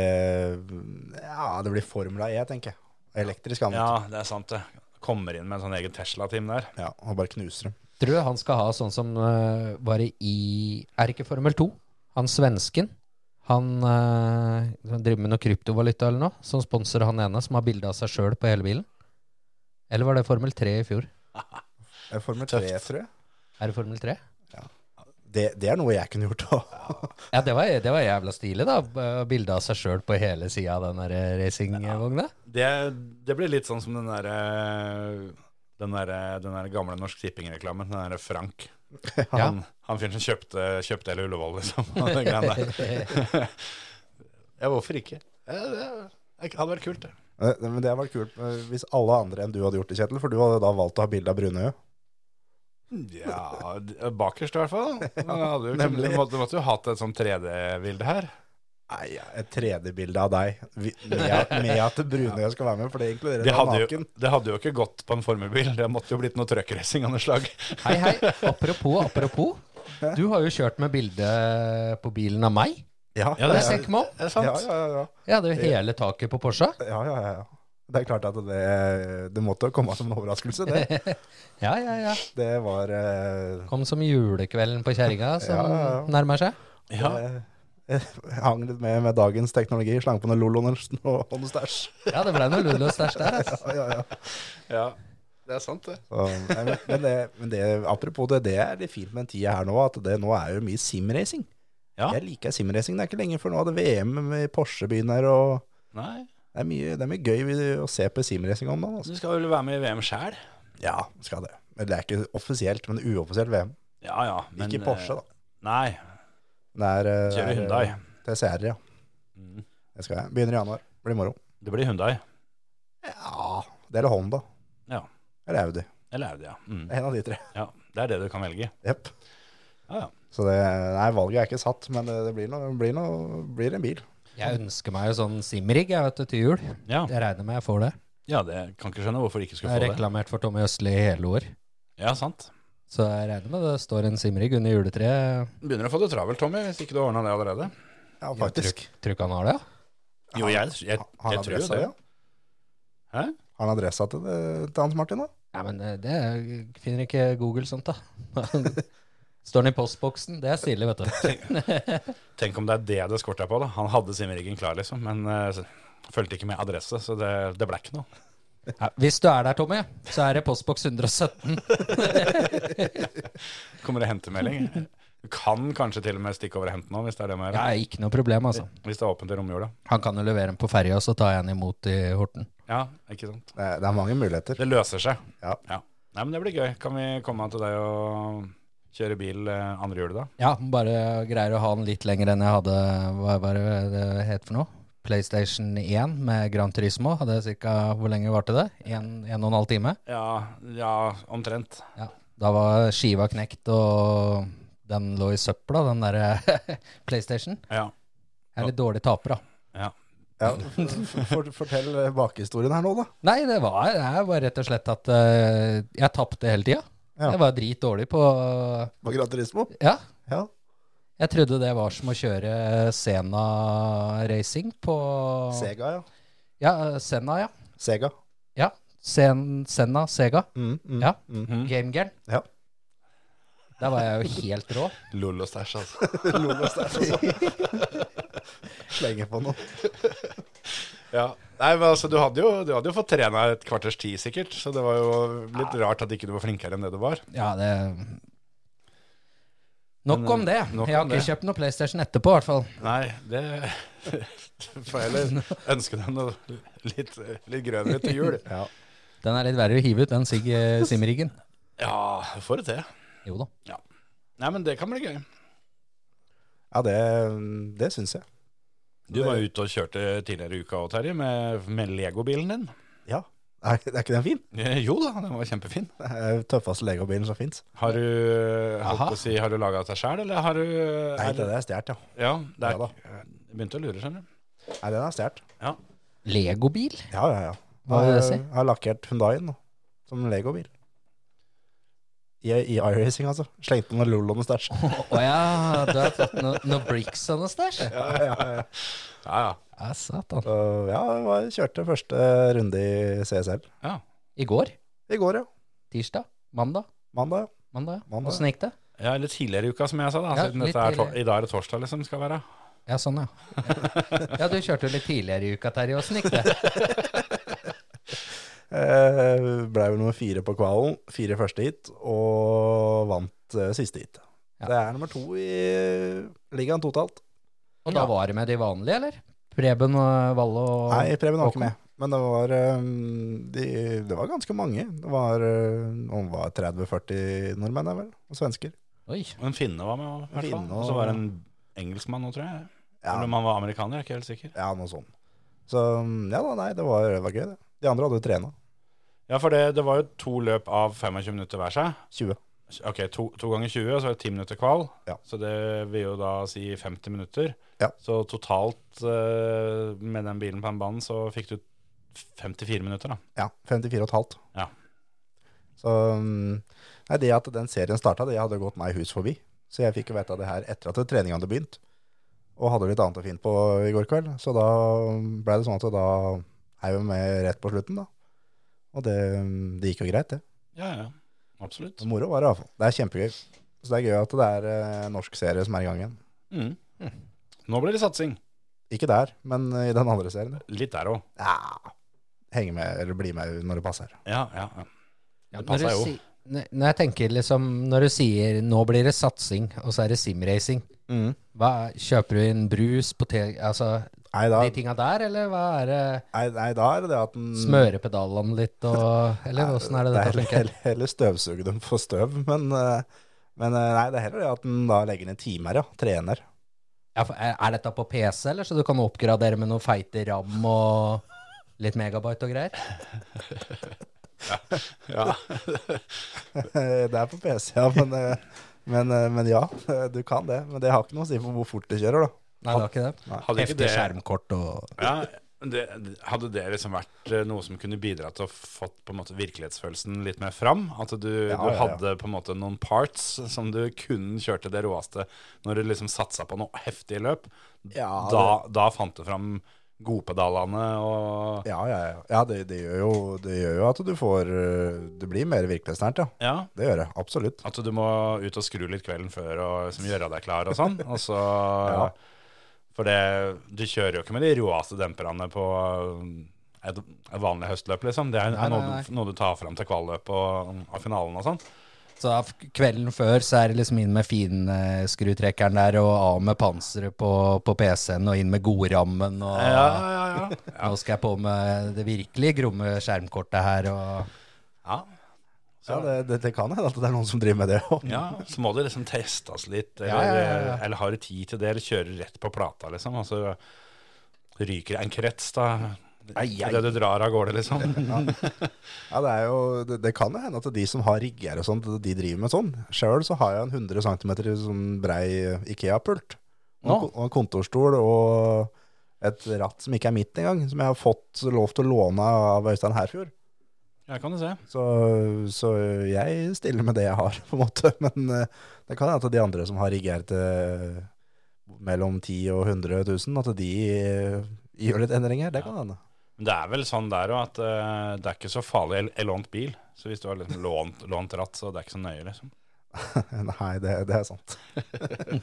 E: ja, det blir Formula E, tenker jeg. Elektrisk annet. Ja.
D: Ja, det er sant, det. Kommer inn med en sånn egen Tesla-team der.
E: og bare knuser dem.
F: Tror du han skal ha sånn som eh, var i Er det ikke Formel 2? Han svensken. Han eh, han driver med noe kryptovaluta eller noe, som sponser han ene som har bilde av seg sjøl på hele bilen. Eller var det Formel 3 i fjor?
E: Eh, Formel 3,
D: Tøft.
E: tror jeg.
F: Er det Formel 3?
E: Det, det er noe jeg kunne gjort òg.
F: Ja, det var, det var jævla stilig, da. B- Bilde av seg sjøl på hele sida av den der eh, racingvogna.
D: Det, det blir litt sånn som den der eh, Den der, den der gamle Norsk Tipping-reklamen. Den derre Frank. Han, han fyren som kjøpte, kjøpte hele Ullevål, liksom. og den greien der. ja, hvorfor ikke? Ja, det, det hadde vært kult, det.
E: Men det hadde vært kult eh, hvis alle andre enn du hadde gjort det, Kjetil. For du hadde da valgt å ha bilde av Brunøy.
D: Ja, d- bakerst i hvert fall. Du hadde jo,
E: nemlig.
D: du måtte, du måtte jo hatt et sånn 3D-bilde her.
E: Nei, ja, et 3D-bilde av deg Vi- med, at- med at Brunøy skal være med, for det inkluderer
D: Det
E: deg
D: hadde, jo,
E: naken.
D: det hadde jo ikke gått på en formelbil. Det måtte jo blitt noe truckracing av noe slag.
F: Hei, hei. Apropos, apropos. Du har jo kjørt med bilde på bilen av meg.
E: Ja,
D: Ja,
F: Det
D: er-
F: ser ikke meg om.
D: Er
E: ja,
D: det sant?
E: ja, ja, ja.
F: Jeg hadde jo hele taket på Porsche.
E: ja, ja, ja, ja. Det er klart at det, det måtte komme som en overraskelse. Det,
F: Ja, ja, ja.
E: det var eh,
F: Kom som julekvelden på kjerringa som
E: Ja, ja, ja.
F: nærmer seg.
D: Ja.
E: eh, Jeg hang litt med med dagens teknologi. Slang på noe lol og noe stæsj.
F: Ja, det ble noe lull og stæsj der, altså.
E: Ja, ja, ja.
D: Ja, det er sant, det.
E: Så, nei, men, men, det, men det, apropos det, det er litt fint med den tida her nå, at det nå er jo mye simracing.
D: Ja.
E: Jeg liker simracing. Det er ikke lenge før nå hadde VM med Porsche begynner, og
D: Nei,
E: det er mye, det er mye gøy vi- å se på simracing om dagen. Altså.
D: Du skal vel være med i VM sjæl?
E: Ja, skal det. Men det er ikke offisielt, men uoffisielt VM.
D: Ja ja. men,
E: ikke Porsche,
D: eh,
E: da.
D: Nei.
E: Det er, eh, det
D: Kjører
E: er,
D: Hyundai.
E: eh, TCR, ja.
D: Mm.
E: Det skal jeg. Begynner i januar. Blir moro.
D: Det blir Hyundai.
E: Ja, det er Honda.
D: Ja.
E: Eller Audi.
D: Eller Audi, ja. Mm.
E: En av de tre.
D: ja. Det er det du kan velge.
E: Jepp.
D: Ja, ja.
E: Så det, nei, valget er ikke satt, men det, det blir, noe, blir, noe, blir en bil.
F: Jeg ønsker meg jo sånn simrigg jeg vet, du, til jul.
D: Ja,
F: Jeg regner med jeg får det.
D: ja det kan ikke skjønne hvorfor de ikke
F: Jeg
D: skulle
F: har
D: få det.
F: reklamert for Tommy Østli i hele år.
D: Ja, sant.
F: Så jeg regner med det står en simrigg under juletreet.
D: Begynner å få det travelt, Tommy, hvis ikke du har ordna det allerede.
E: Ja,
F: Jeg
E: faktisk.
F: tror- Tror ikke han har det, ja.
D: Jo, jeg, jeg,
E: Har han
D: jeg tror jo
E: adressa
D: det.
E: det? ja?
D: Hæ?
E: Har han adressa til, det- til Hans Martin, da?
F: Nei, men eh, det er- finner ikke Google sånt, da. Står den i postboksen? Det er stilig, vet du.
D: Tenk om det er det det skorta på. da. Han hadde simriggen klar, liksom, men eh, så- fulgte ikke med adresse, så det, det ble ikke noe.
F: Ja, hvis du er der, Tommy, så er det postboks 117.
D: Kommer det hentemelding? Du kan kanskje til og med stikke over og hente noe, hvis det er det med
F: Ja, ikke noe problem, altså.
D: Hvis det er åpent i romjula.
F: Han kan jo levere den på ferja, så tar jeg den imot i Horten.
D: Ja, ikke sant.
E: Det er, det er mange muligheter.
D: Det løser seg.
E: Ja.
D: Nei, men det blir gøy. Kan vi komme til deg og kjøre bil eh, andre jul, da?
F: Ja, bare greier å ha den litt lenger enn jeg hadde Hva var det det het for noe? PlayStation 1 med Gran Turismo hadde jeg ca. Hvor lenge varte det? En, en og en halv time?
D: Ja, ja omtrent.
F: Ja. Da var skiva knekt, og den lå i søpla, den derre PlayStation.
D: Ja.
F: Jeg er litt dårlig taper, da.
D: ja.
E: Ja, for, for, fortell eh, bakhistorien her nå, da.
F: Nei, det var, det er bare rett og slett at eh, jeg tapte hele tida.
E: Ja.
F: Jeg var dritdårlig på
E: På Gran Turismo.
F: Ja.
E: Ja.
F: Jeg trodde det var som å kjøre Sena Racing på
E: Sega, ja.
F: Ja, Senna, ja.
E: Sega.
F: ja. Sen, Senna, Sega.
E: Mm, mm,
F: Ja.
E: Mm.
D: Mm.
F: Gamegear.
E: ja.
F: Der var jeg jo helt rå.
D: Lol og stæsj, altså.
E: Logos der, altså. Slenger på noe.
D: ja. Nei, men altså, du hadde jo, du hadde jo fått trena et kvarters tid, sikkert, så det var jo litt rart at ikke du var flinkere enn det du var.
F: Ja, det Nok
D: Men,
F: om det.
D: nok
F: jeg har
D: om
F: ikke
D: det.
F: kjøpt noe PlayStation etterpå, i hvert fall.
D: Nei, det får jeg heller ønske deg noe litt, litt grønnere til jul.
E: Ja.
F: Den er litt verre å hive ut, den Sig Simriggen.
D: Ja, du får det til.
F: Jo da.
D: Nei, men det kan bli gøy.
E: ja, det, det syns jeg.
D: Du var ute og kjørte tidligere i uka òg, Terje, med, med legobilen din.
E: Ja. Er, er ikke den fin?
D: Eh, Jo da, den var kjempefin.
E: Det er den tøffeste legobilen som fins.
D: Har du, holdt
F: Aha.
D: på å si, har du laga deg sjæl, eller har du
E: Nei, den er stjålet, ja.
D: Ja, det
E: Ja da.
D: er, jeg begynte å lure, skjønner du.
E: Nei, den er stjålet.
F: Legobil?
E: Ja, ja, ja.
F: Hva vil det si?
E: Jeg har lakkert Hundaien nå, som legobil. I, I iRacing, altså. Slengte noe lol og noe stæsj.
F: Å ja, du har fått noen no bricks og noe stæsj? Ja,
D: Ja, ja.
F: satan.
E: Uh, ja, jeg var- kjørte første runde i CSL.
D: Ja.
F: I går?
E: I går, ja.
F: Tirsdag? Mandag?
E: Mandag.
F: Mandag, ja.
E: Mandag,
F: Åssen gikk det?
D: Ja, eller tidligere i uka, som jeg sa, da.
F: Ja,
D: siden
F: litt
D: dette er tor
F: tidligere.
D: I dag er det torsdag, liksom, skal være.
F: Ja, sånn, ja. Ja, du kjørte jo litt tidligere i uka, Terje. Åssen gikk det?
E: ja. Eh, ble vel nummer fire på kvalen. Fire første hit, og vant eh, siste hit.
F: Ja.
E: Det er nummer to i ligaen totalt.
F: Og da var det med de vanlige, eller? Preben og Valle og
E: Nei, Preben var
F: Håkon?
E: ikke med. Men det var, eh, de, det var ganske mange. Det var, eh, om det var 30-40 nordmenn, er vel, og svensker.
F: Oi.
D: Og en finne var med, i hvert fall.
E: Finne
D: Og så var det
E: og-
D: en engelskmann nå, tror jeg.
E: Ja.
D: Eller om han var amerikaner, jeg er ikke helt sikker.
E: Ja, noe sånt. Så mm, ja da, nei, det var, det var gøy, det. De andre hadde jo trena.
D: Ja, for det, det var jo to løp av 25 minutter hver seg.
E: 20.
D: Ok, to, to ganger 20, og så er det 10 minutter kval.
E: Ja.
D: Så det vil jo da si 50 minutter.
E: Ja.
D: Så totalt eh, med den bilen på den banen så fikk du 54 minutter, da.
E: Ja, 54,5.
D: Ja.
E: Så mm, nei, det at den serien starta, det hadde gått meg hus forbi. Så jeg fikk jo vite av det her etter at treninga hadde begynt. og hadde litt annet å finne på i går kveld. Så da ble det sånn at da heiv jeg med rett på slutten, da. Og det, det gikk jo greit, det.
D: Ja, ja. Absolutt.
E: Men Moro var det iallfall. Det er kjempegøy. Så det er gøy at det er eh, en norsk serie som er i gang igjen.
D: Mm. Nå blir det satsing.
E: Ikke der, men eh, i den andre serien.
D: Litt der òg.
E: Ja. Henge med, eller bli med når det passer.
D: Ja, ja, ja.
F: Ja,
D: Det
F: når
D: passer
F: du
D: jo.
F: si- Når når jeg tenker liksom Når du sier 'nå blir det satsing', og så er det simracing,
D: Mm.
F: hva er- kjøper du inn brus, potet... Altså
E: Nei, da,
F: de tinga der, eller hva er det?
E: nei, nei, da er det det at den
F: Smøre pedalene litt og Eller åssen er det dette
E: heller-
F: funker?
E: Heller, heller støvsuge dem for støv, men, eh, men eh, nei, det er heller det at den da legger ned timer, ja. Trener.
F: Ja, for er er dette på PC, eller så du kan oppgradere med noe feite ram og litt megabyte og greier?
E: det er på PC, ja, men, eh, men, eh, men ja, du kan det. Men det har ikke noe å si for hvor fort du kjører, da.
F: Nei, det var ikke det.
D: Hadde ikke
F: Heftig
D: det,
F: skjermkort og
D: ja, det, hadde det liksom vært eh, noe som kunne bidra til å få på en måte virkelighetsfølelsen litt mer fram? At du,
E: ja,
D: du
E: ja.
D: hadde på en måte noen parts som du kun kjørte det råeste når du liksom satsa på noe heftig løp?
E: Ja,
D: da, da fant du fram godpedalene og
E: Ja, ja, ja. ja det, det, gjør jo, det gjør jo at du får eh, Det blir mer virkelighetsnært, ja.
D: Ja,
E: Det gjør det. Absolutt.
D: At du må ut og skru litt kvelden før og liksom gjøre deg klar og sånn. Og så,
E: Ja.
D: For det, du kjører jo ikke med de råeste demperne på øh, et, et vanlig høstløp, liksom. Det er
F: Nei,
D: noe,
F: nei,
D: du- noe du tar fram til kvalløpet og, og finalen og sånn.
F: Så av kvelden før så er det liksom inn med finskrutrekkeren der, og av med panseret på, på PC-en, og inn med godrammen, og
D: ja, ja.
F: nå skal jeg på med det virkelig gromme skjermkortet her, og
D: ja.
E: Ja, det, det, det kan hende at det er noen som driver med det òg.
D: Ja, så må det liksom testes litt, eller,
F: Ja, ja, ja, ja.
D: eller har du tid til det, eller kjører rett på plata, liksom. Og så ryker det en krets, da. Det du drar av gårde, liksom.
E: Ja, det, er jo, det, det kan jo hende at de som har rigger og sånt, de driver med sånn. Sjøl så har jeg en 100 cm sånn brei Ikea-pult. Og, en
F: Nå?
E: kon- og en kontorstol og et ratt som ikke er mitt engang, som jeg har fått lov til å låne av Øystein Herfjord.
D: Ja, kan du se.
E: Så, så jeg stiller med det jeg har, på en måte. Men eh, det kan hende at de andre som har rigger til eh, mellom 10 og 100 000, at de eh, gjør litt endringer. Det kan hende.
D: Men det er vel sånn der òg at eh, det er ikke så farlig. Jeg- Jeg lånt bil, så hvis du har liksom lånt, lånt ratt, så det er ikke så nøye, liksom.
E: Nei, det, det er sant.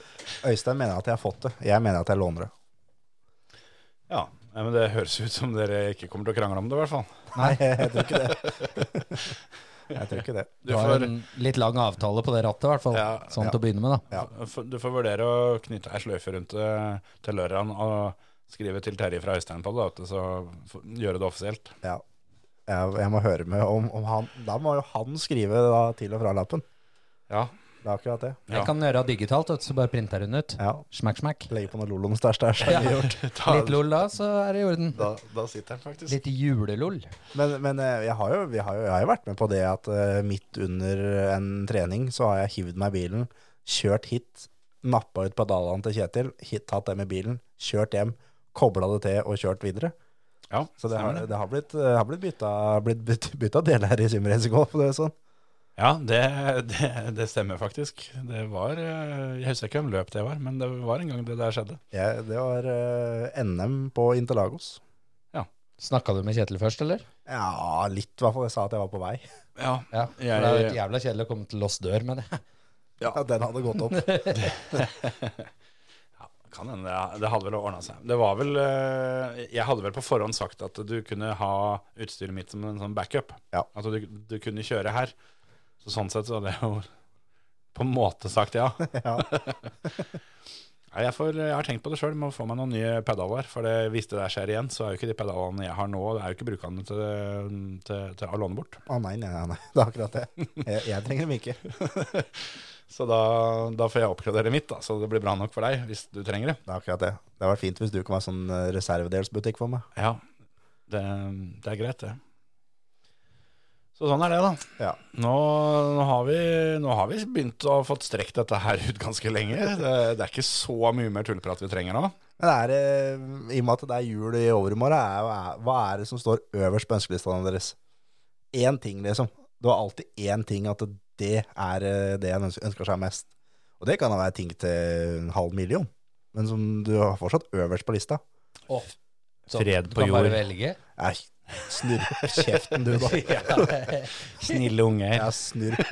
E: Øystein mener at jeg har fått det. Jeg mener at jeg låner det.
D: Ja, eh, men det høres ut som dere ikke kommer til å krangle om det, i hvert fall.
E: Nei, jeg tror ikke det. jeg tror ikke det.
D: Du
F: det var
D: får,
F: en litt lang avtale på det rattet, i hvert fall,
D: Ja,
F: sånn
E: ja.
F: til å begynne med, da.
D: f- du får vurdere å knytte ei sløyfe rundt det til lørdagen og skrive til Terje fra Øystein på det, da, vet du, så f- gjøre det offisielt.
E: Ja. Jeg, jeg må høre med om, om han Da må jo han skrive da, til og fra lappen.
D: Ja.
E: Det er akkurat det.
D: Ja.
F: Jeg kan gjøre det digitalt, vet du, så bare printer hun ut.
E: Ja.
F: Smack, smack.
E: Legge på noe Lolons stæsj der, så er det gjort.
D: Ta-
F: Litt lol da, så er det i orden.
D: Da, da sitter han faktisk.
F: Litt julelol.
E: Men, men eh, jeg, har jo, vi har jo, jeg har jo vært med på det at eh, midt under en trening så har jeg hivd meg i bilen, kjørt hit, nappa ut pedalene til Kjetil, hit, tatt dem i bilen, kjørt hjem, kobla det til og kjørt videre.
D: Ja,
E: Så det
D: stemmer
E: har, det har blitt, eh, har blitt bytta, blitt byt- bytta del her i Simrace Golf. Det er sånn.
D: Ja, det, det, det stemmer faktisk. Det var eh, Jeg husker ikke hvem løp det var, men det var en gang det der skjedde.
E: Jeg, det var eh, NM på Interlagos.
F: Snakka du med Kjetil først, eller?
E: Ja, litt i hvert fall. Jeg sa at jeg var på vei.
D: Ja.
F: Ja, for
D: Jeg-
F: det er jo et jævla kjedelig å komme til oss dør med det.
E: Ja, Den hadde gått opp.
D: Kan hende, ja. Det hadde vel ordna seg. Det var vel eh, Jeg hadde vel på forhånd sagt at du kunne ha utstyret mitt som en sånn backup.
E: Ja.
D: At du, du kunne kjøre her. Så sånn sett så hadde jeg jo på en måte sagt ja.
E: Ja.
D: Nei, jeg, får, jeg har tenkt på det sjøl, må få meg noen nye pedaler. For det, hvis det der skjer igjen, så er jo ikke de pedalene jeg har nå, det er jo ikke brukende til, til, til å låne bort.
E: Å nei, nei, nei, nei. Det er akkurat det. Jeg, jeg trenger dem ikke. Det
D: Så da, da får jeg oppgradere mitt, da. Så det blir bra nok for deg hvis du trenger det.
E: er akkurat det. Det hadde vært fint hvis du kunne være sånn eh, reservedelsbutikk for meg.
D: Ja, det, det er greit, det. Så sånn er det, da.
E: Ja.
D: Nå, nå, har vi, nå har vi begynt å fått strekt dette her ut ganske lenge. Det, det er ikke så mye mer tulleprat vi trenger nå.
E: Men er det, i og med at det er jul i overmorgen, er, er, hva er det som står øverst på ønskelistene deres? Én ting, liksom. Du har alltid én ting at det er eh, det en ønsker ønsker seg mest. Og det kan da være ting til en halv million. men som du har fortsatt øverst på lista.
F: Oh,
D: Fred
F: du
D: på
F: kan
D: jord.
F: bare velge.
E: Nei, snurp kjeften du, da.
F: Ja.
D: Snille unger.
E: Ja, snurp.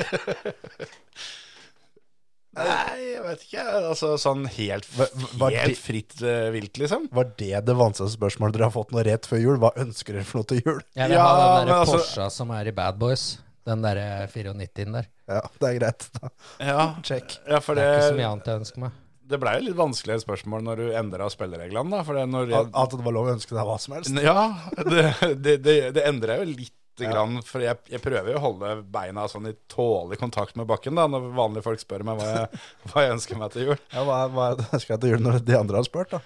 D: Nei, jeg vet ikke. Altså sånn helt,
E: Hva- hva-
D: helt fritt eh, vilt, liksom.
E: Var det det vanskeligste spørsmålet dere har fått nå rett før jul? Hva ønsker dere for noe til jul?
F: Jeg vil
D: Ja,
F: ha den
D: men
F: der
D: altså-
F: Porscha som er i Bad Boys. Den eh, derre 94-en der.
E: Ja, det er greit. Da.
D: Ja,
E: Check.
D: ja for
F: Det er ikke så mye
D: det,
F: annet jeg ønsker meg.
D: det ble jo litt vanskeligere spørsmål når du endra spillereglene, da. For det når
E: At, at det var lov å ønske deg hva som helst.
D: Ja, det, det, det, det endrer jeg jo litt. Grann, for jeg, jeg prøver jo å holde beina sånn i tålelig kontakt med bakken da, når vanlige folk spør meg hva jeg, hva jeg ønsker meg til jul.
E: Ja, hva, hva ønsker jeg til jul når de andre har spurt, da?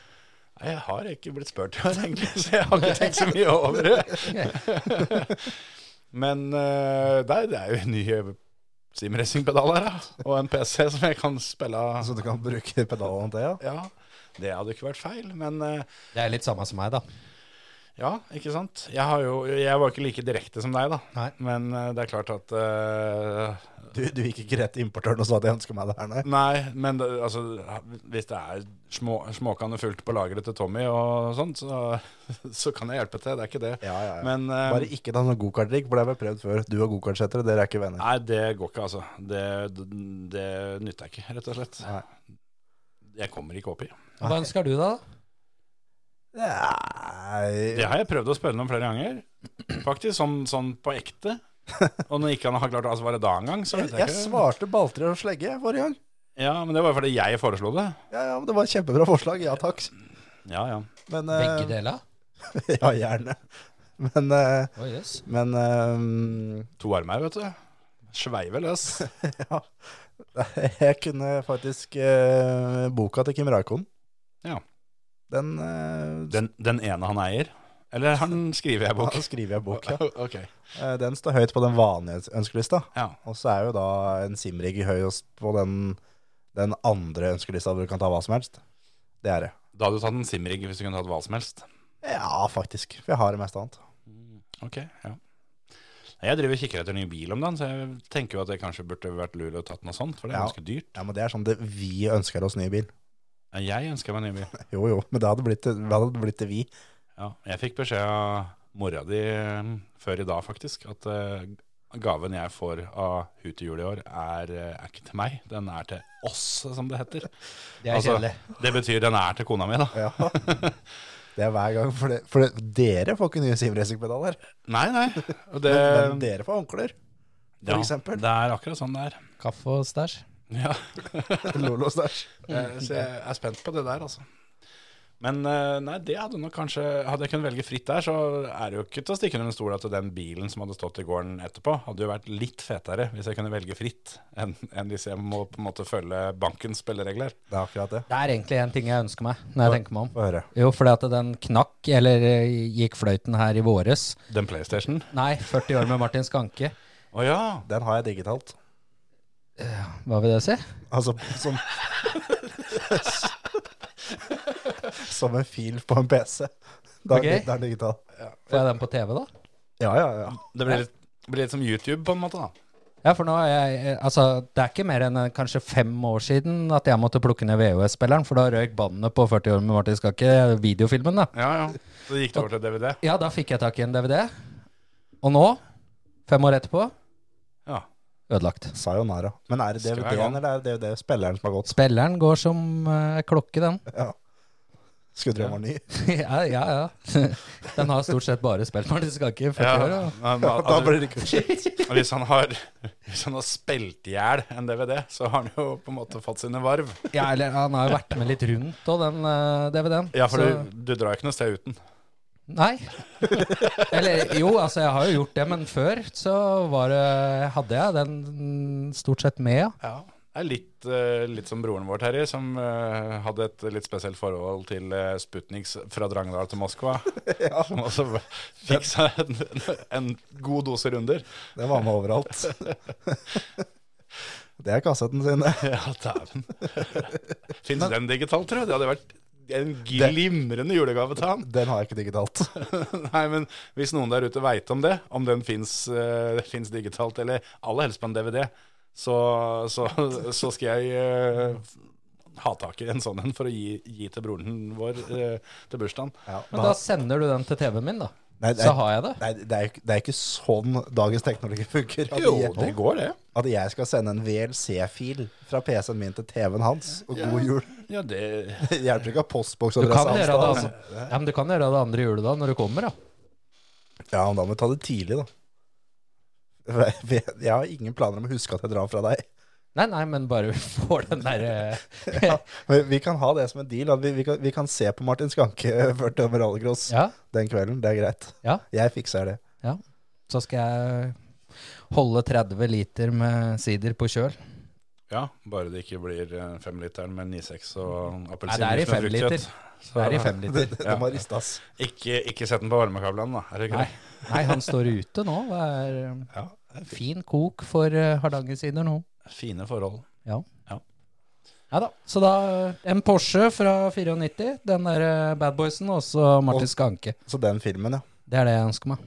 D: Nei, jeg har ikke blitt spurt i år, egentlig, så jeg har ikke tenkt så mye over det. Men eh, nei, det er jo en ny eh, simracingpedal her, da, og en PC som jeg kan spille av.
E: Så Altså, du kan bruke pedalene til, ja?
D: Ja, det hadde ikke vært feil, men eh,
F: Det er litt samme som meg, da.
D: Ja, ikke sant? Jeg, har jo, jeg var ikke like direkte som deg, da.
F: Nei.
D: Men eh, det er klart at eh,
E: Du, du gikk ikke rett til importøren og sa at jeg ønsker meg det her, nei?
D: Nei, men det, altså, hvis det er små, småkanne fullt på lageret til Tommy og sånt, så, så kan jeg hjelpe til. Det er ikke det.
E: Ja, ja, ja.
D: Men eh,
E: Bare ikke ta noen gokartdrikk, for det har vi prøvd før. Du og gokartsettere, dere er ikke venner.
D: Nei, det går ikke, altså. Det, det nytter jeg ikke, rett og slett.
E: Nei.
D: Jeg kommer ikke opp i.
F: Hva ønsker du, da?
E: Nei.
D: Det har jeg prøvd å spørre om flere ganger, faktisk. Sånn, sånn på ekte. Og når ikke han har klart å svare da engang, så
E: Jeg,
D: vet jeg
E: jeg
D: ikke.
E: svarte Baltre og Slegge jeg, forrige gang.
D: Ja, Men det var jo fordi jeg foreslo det.
E: Ja, ja, men Det var et kjempebra forslag. Ja takk.
D: Ja, ja.
E: Men,
F: Begge
E: eh,
F: deler?
E: ja, gjerne. Men, eh,
F: Å, jøss.
E: men eh,
D: To armer, vet du. Sveiver løs.
E: Ja. Jeg kunne faktisk eh, boka til Kim Raikon.
D: Ja.
E: Den, eh,
D: Den, den ene han eier? Eller han skriver jeg bok?
E: da skriver jeg bok, ja.
D: Ok.
E: Eh, Den står høyt på den vanlige ønskelista.
D: Ja.
E: Og så er jo da en Simrig høyest på den, den andre ønskelista hvor du kan ta hva som helst. Det er det.
D: Da hadde du tatt en Simrig hvis du kunne tatt hva som helst.
E: Ja, faktisk. For jeg har det meste annet.
D: Ok, ja. Nei, Jeg driver og kikker etter ny bil om dagen, så jeg tenker jo at det kanskje burde vært lurt å tatt noe sånt, for det er
E: Ja.
D: ganske dyrt.
E: Ja, men Det er sånn det vi ønsker oss ny bil.
D: Ja, Jeg ønsker meg en ny bil.
E: Jo, jo, men det hadde blitt, det hadde blitt det vi.
D: Ja. Jeg fikk beskjed av mora di eh, før i dag, faktisk, at eh, gaven jeg får av hun til jul i år, er, eh, er ikke til meg, den er til oss, som det heter.
F: Det er
D: Altså,
F: kjedelig.
D: Det betyr den er til kona mi, da.
E: Ja. Det er hver gang. For, det, for det, dere får ikke nye Simracing-pedaler.
D: Nei, nei. Og det,
E: Men, men dere får håndklær. for
D: ja,
E: eksempel.
D: Det er akkurat sånn det er.
F: Kaffe og stæsj.
D: Ja.
E: Lolo Stæsj.
D: Eh, Så jeg er spent på det der, altså. Men eh, nei, det hadde nok kanskje Hadde jeg kunnet velge fritt der, så er det jo ikke til å stikke under en stol at den bilen som hadde stått i gården etterpå, hadde jo vært litt fetere hvis jeg kunne velge fritt, enn enn hvis jeg må på en måte følge bankens spilleregler.
E: Det er akkurat det.
F: Det er egentlig en ting jeg ønsker meg, når jeg tenker meg om.
E: Få høre.
F: Jo, fordi at den knakk, eller eh, gikk fløyten her i våres.
D: Den PlayStation?
F: Nei, 40 år med Martin Skanke.
D: Å ja!
E: Den har jeg digitalt.
F: Hva vil det si?
E: Altså som Som en fil på en PC. Da,
F: Ok.
E: Det er digital.
F: Får jeg den på TV, da?
E: Ja, ja, ja.
D: Det blir litt, blir litt som YouTube, på en måte, da.
F: Ja, for nå er jeg, eh, altså, Det er ikke mer enn eh, kanskje fem år siden at jeg måtte plukke ned VHS-spilleren, for da røyk bandet på 40 år med Martin Skakke, videofilmen. da.
D: Ja, ja. Så gikk det over til DVD.
F: Ja, da fikk jeg tak i en DVD. Og nå, fem år etterpå,
D: Ja.
F: ødelagt.
E: Sayonara. Men er det
D: Skal være
E: DVD-en,
D: god.
E: eller er det DVD-spilleren som har gått?
F: Spilleren går som eh, klokke, den.
E: Ja. Skulle tro den var ny.
F: ja, ja, ja. Den har stort sett bare spilt Martin Skakke i 40
D: Ja,
F: år. da.
D: men
E: Da
D: altså-
E: blir det kult.
D: Hvis han har, hvis han har spilt i hjel en DVD, så har han jo på en måte fått sine varv.
F: Ja, eller han har jo vært med litt rundt òg, den eh, DVD-en.
D: Ja, for
F: så-
D: du, du drar jo ikke noe sted uten.
F: Nei. Eller jo, altså jeg har jo gjort det, men før så var det, hadde jeg den stort sett med, ja.
D: Ja. Det er litt, eh, litt som broren vår, Terje, som eh, hadde et litt spesielt forhold til eh, Sputniks fra Drangedal til Moskva. Som også fikk seg en, en god dose runder.
E: Den var med overalt. Det er kassetten sin, det.
D: Ja, dæven. Fins den digitalt, tror jeg? Det hadde vært en glimrende julegave til han.
E: Den har jeg ikke digitalt.
D: Nei, men hvis noen der ute veit om det, om den fins digitalt, eller aller helst på en DVD, så, så, så skal jeg eh, hataker en sånn en for å gi, gi til broren vår eh, til bursdagen.
E: Ja,
F: Men da sender du den til TV-en min, da.
E: Nei, det er-
F: Så har jeg det.
E: Nei, det er, jo ikke- det er ikke sånn dagens teknologi funker. At, jeg,
D: går, det.
E: at jeg skal sende en VLC-fil fra PC-en min til TV-en hans, og god jul.
D: Ja, det
E: Det hjelper ikke
F: Du
E: å ha
F: kan,
E: postboksadresse hans.
F: gjøre det,
E: da,
F: andre, ja, men du kan gjøre det andre julet da, når du kommer. da.
E: altså. Ja, men da må vi ta det tidlig, da. Jeg jeg har ingen planer om å huske at jeg drar fra deg.
F: Nei, nei, men bare vi får den eh, derre
E: Ja, men vi kan ha det som en deal. At vi, vi, kan, vi kan se på Martin Skanke 40 over rallycross
F: ja,
E: den kvelden. Det er greit.
F: Ja.
E: Jeg fikser det.
F: ja. Så skal jeg holde 30 liter med sider på kjøl.
D: Ja, bare det ikke blir eh, femliteren med 9,6 og
F: Nei, det er i
D: appelsinjuice med
F: femliter.
D: fruktkjøtt.
F: Det er i femliter.
E: De
D: Ja.
E: må ristes.
D: Ikke, ikke sett den på varmekablene, da. Er det
F: Nei.
D: greit?
F: nei, han står ute nå. Det er
D: Ja,
F: eh, fin kok for eh, Hardangersider nå.
D: Fine forhold.
F: Ja.
D: Ja.
F: Nei da. Så da eh, en Porsche fra 94, den der eh, Bad Boysen, og så Martin Skanke.
E: Så den filmen, ja.
F: Det er det jeg ønsker meg.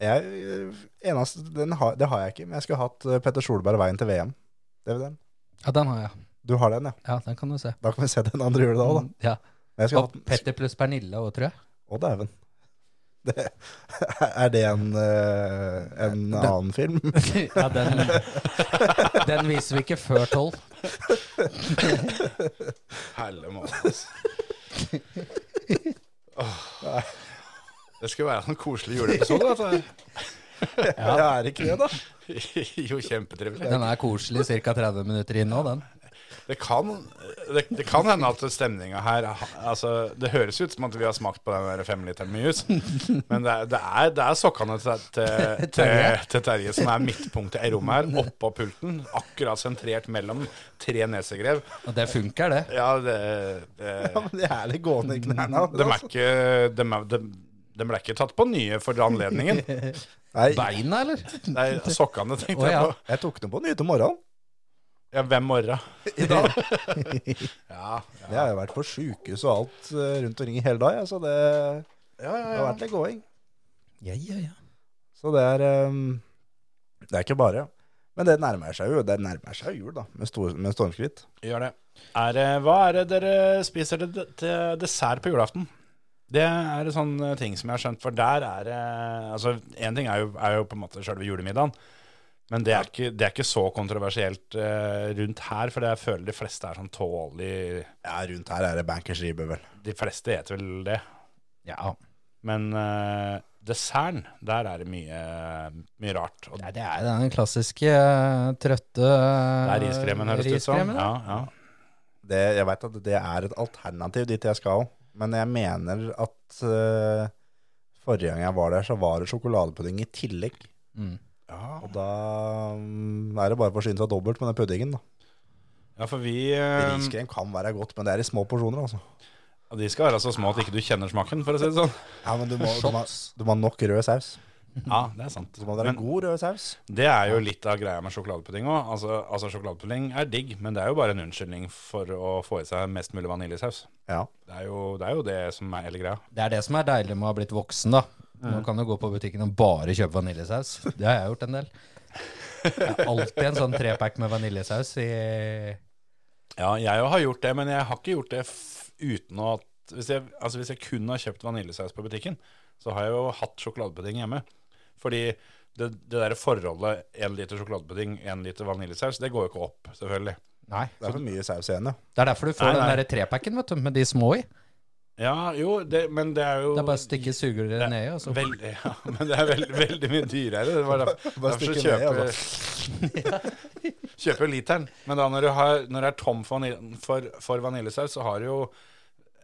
E: Jeg, eh, eneste, den har, det har jeg ikke, men jeg skulle hatt eh, Petter Solberg veien til VM. DVD-en.
F: Ja, den har jeg.
E: Du har den, ja.
F: Ja, den kan du se.
E: Da kan vi se den andre juledag, da.
F: Ja.
E: Men jeg skulle
F: Og
E: hatt den.
F: Petter pluss Pernille òg, tror jeg.
E: Å, dæven. Det- Er det en, eh, en annen film?
F: ja, den, den viser vi ikke før tolv.
D: Helle måte, altså. Åh. Det skulle være en koselig juleepisode, altså. dette her.
E: Ja. er det ikke det, da?
D: jo, kjempetrivelig.
F: Den er koselig ca. 30 minutter inn nå, den.
D: Det kan, det, det kan hende at stemninga her ha- altså, Det høres ut som at vi har smakt på den der femliteren med jus, men det er, det er, det er sokkene til, til, til, til Terje som er midtpunktet i rommet her, oppå pulten. Akkurat sentrert mellom tre nesegrev.
F: Og det funker, det.
D: Ja, det, det
E: Men det er det gående i knærne. altså.
D: De er ikke De, er, de, de ble ikke tatt på nye for anledningen.
E: Nei,
F: Beina, eller?
D: Nei, sokkene tenkte
F: Å,
D: jeg
F: ja.
D: på.
E: jeg tok den på nytt om morgenen.
D: Ja, hvem morra?
E: I dag.
D: Ja, ja,
E: Jeg har jo vært på sjukehus og alt eh, rundt omkring i hele dag, jeg, så det, det har vært litt gåing.
F: Ja, ja, ja.
E: Så det er ehm, Det er ikke bare. Men det nærmer seg jo det nærmer seg jo jul, da, med, stor, med stormskritt.
D: gjør det. Er, det- hva er det dere spiser til, til dessert på julaften? Det er en sånn eh, ting som jeg har skjønt, for der er det Altså, én ting er jo, er jo på en måte sjølve julemiddagen, men det er ikke, det er ikke så kontroversielt eh, rundt her, for jeg føler de fleste er sånn tålelig
E: Ja, rundt her er det bankersribe, vel.
D: De fleste spiser vel det.
F: Ja,
D: Men eh, desserten, der er det mye, mye rart. Og
F: Nei, Det er den klassiske eh, trøtte
D: det
F: eh,
D: er riskremen, høres det ut som.
F: riskremen, da.
D: Ja, ja.
E: Det, jeg veit at det er et alternativ dit jeg skal, men jeg mener at eh, forrige gang jeg var der, så var det sjokoladepudding i tillegg.
F: Mm.
E: Og da mm, er det bare å forsyne seg dobbelt med den puddingen, da.
D: ja, for vi eh,
E: Riskrem kan være godt, men det er i små porsjoner, altså.
D: De skal være så små at ikke du kjenner smaken, for å si det sånn.
E: Ja, men du må, du må, du må ha nok rød saus.
D: Ja, det er sant.
E: Så må det være
D: Men
E: god rød saus.
D: det er jo litt av greia med sjokoladepudding òg. Altså, altså, sjokoladepudding er digg, men det er jo bare en unnskyldning for å få i seg mest mulig vaniljesaus.
E: Ja.
D: Det er jo det, er jo det som er hele greia.
F: Det er det som er deilig med å ha blitt voksen, da. Nå kan du gå på butikken og bare kjøpe vaniljesaus. Det har jeg gjort en del. Jeg har alltid en sånn trepack med vaniljesaus i
D: Ja, jeg jo har gjort det, men jeg har ikke gjort det f uten å at hvis jeg, altså hvis jeg kun har kjøpt vaniljesaus på butikken, så har jeg jo hatt sjokoladepudding hjemme. Fordi det, det der forholdet én liter sjokoladepudding, én liter vaniljesaus, det går jo ikke opp, selvfølgelig.
F: Nei.
E: Det er for mye saus igjen, ja.
F: Det er derfor du får
D: Nei, nei.
F: den der trepacken, vet du, med de små i.
D: Ja, jo, det, men det er jo
F: Det er bare å stikke sugerøret
D: Det-
F: ned i, og så
D: Veldig, ja, men det er veld, veldig mye dyrere. Det var derfor,
E: Bare
D: derfor så
E: stikke ned, altså.
D: kjøper Kjøper literen. Men da når du, har, når du er tom for, vanil- for, for vaniljesaus, så har du jo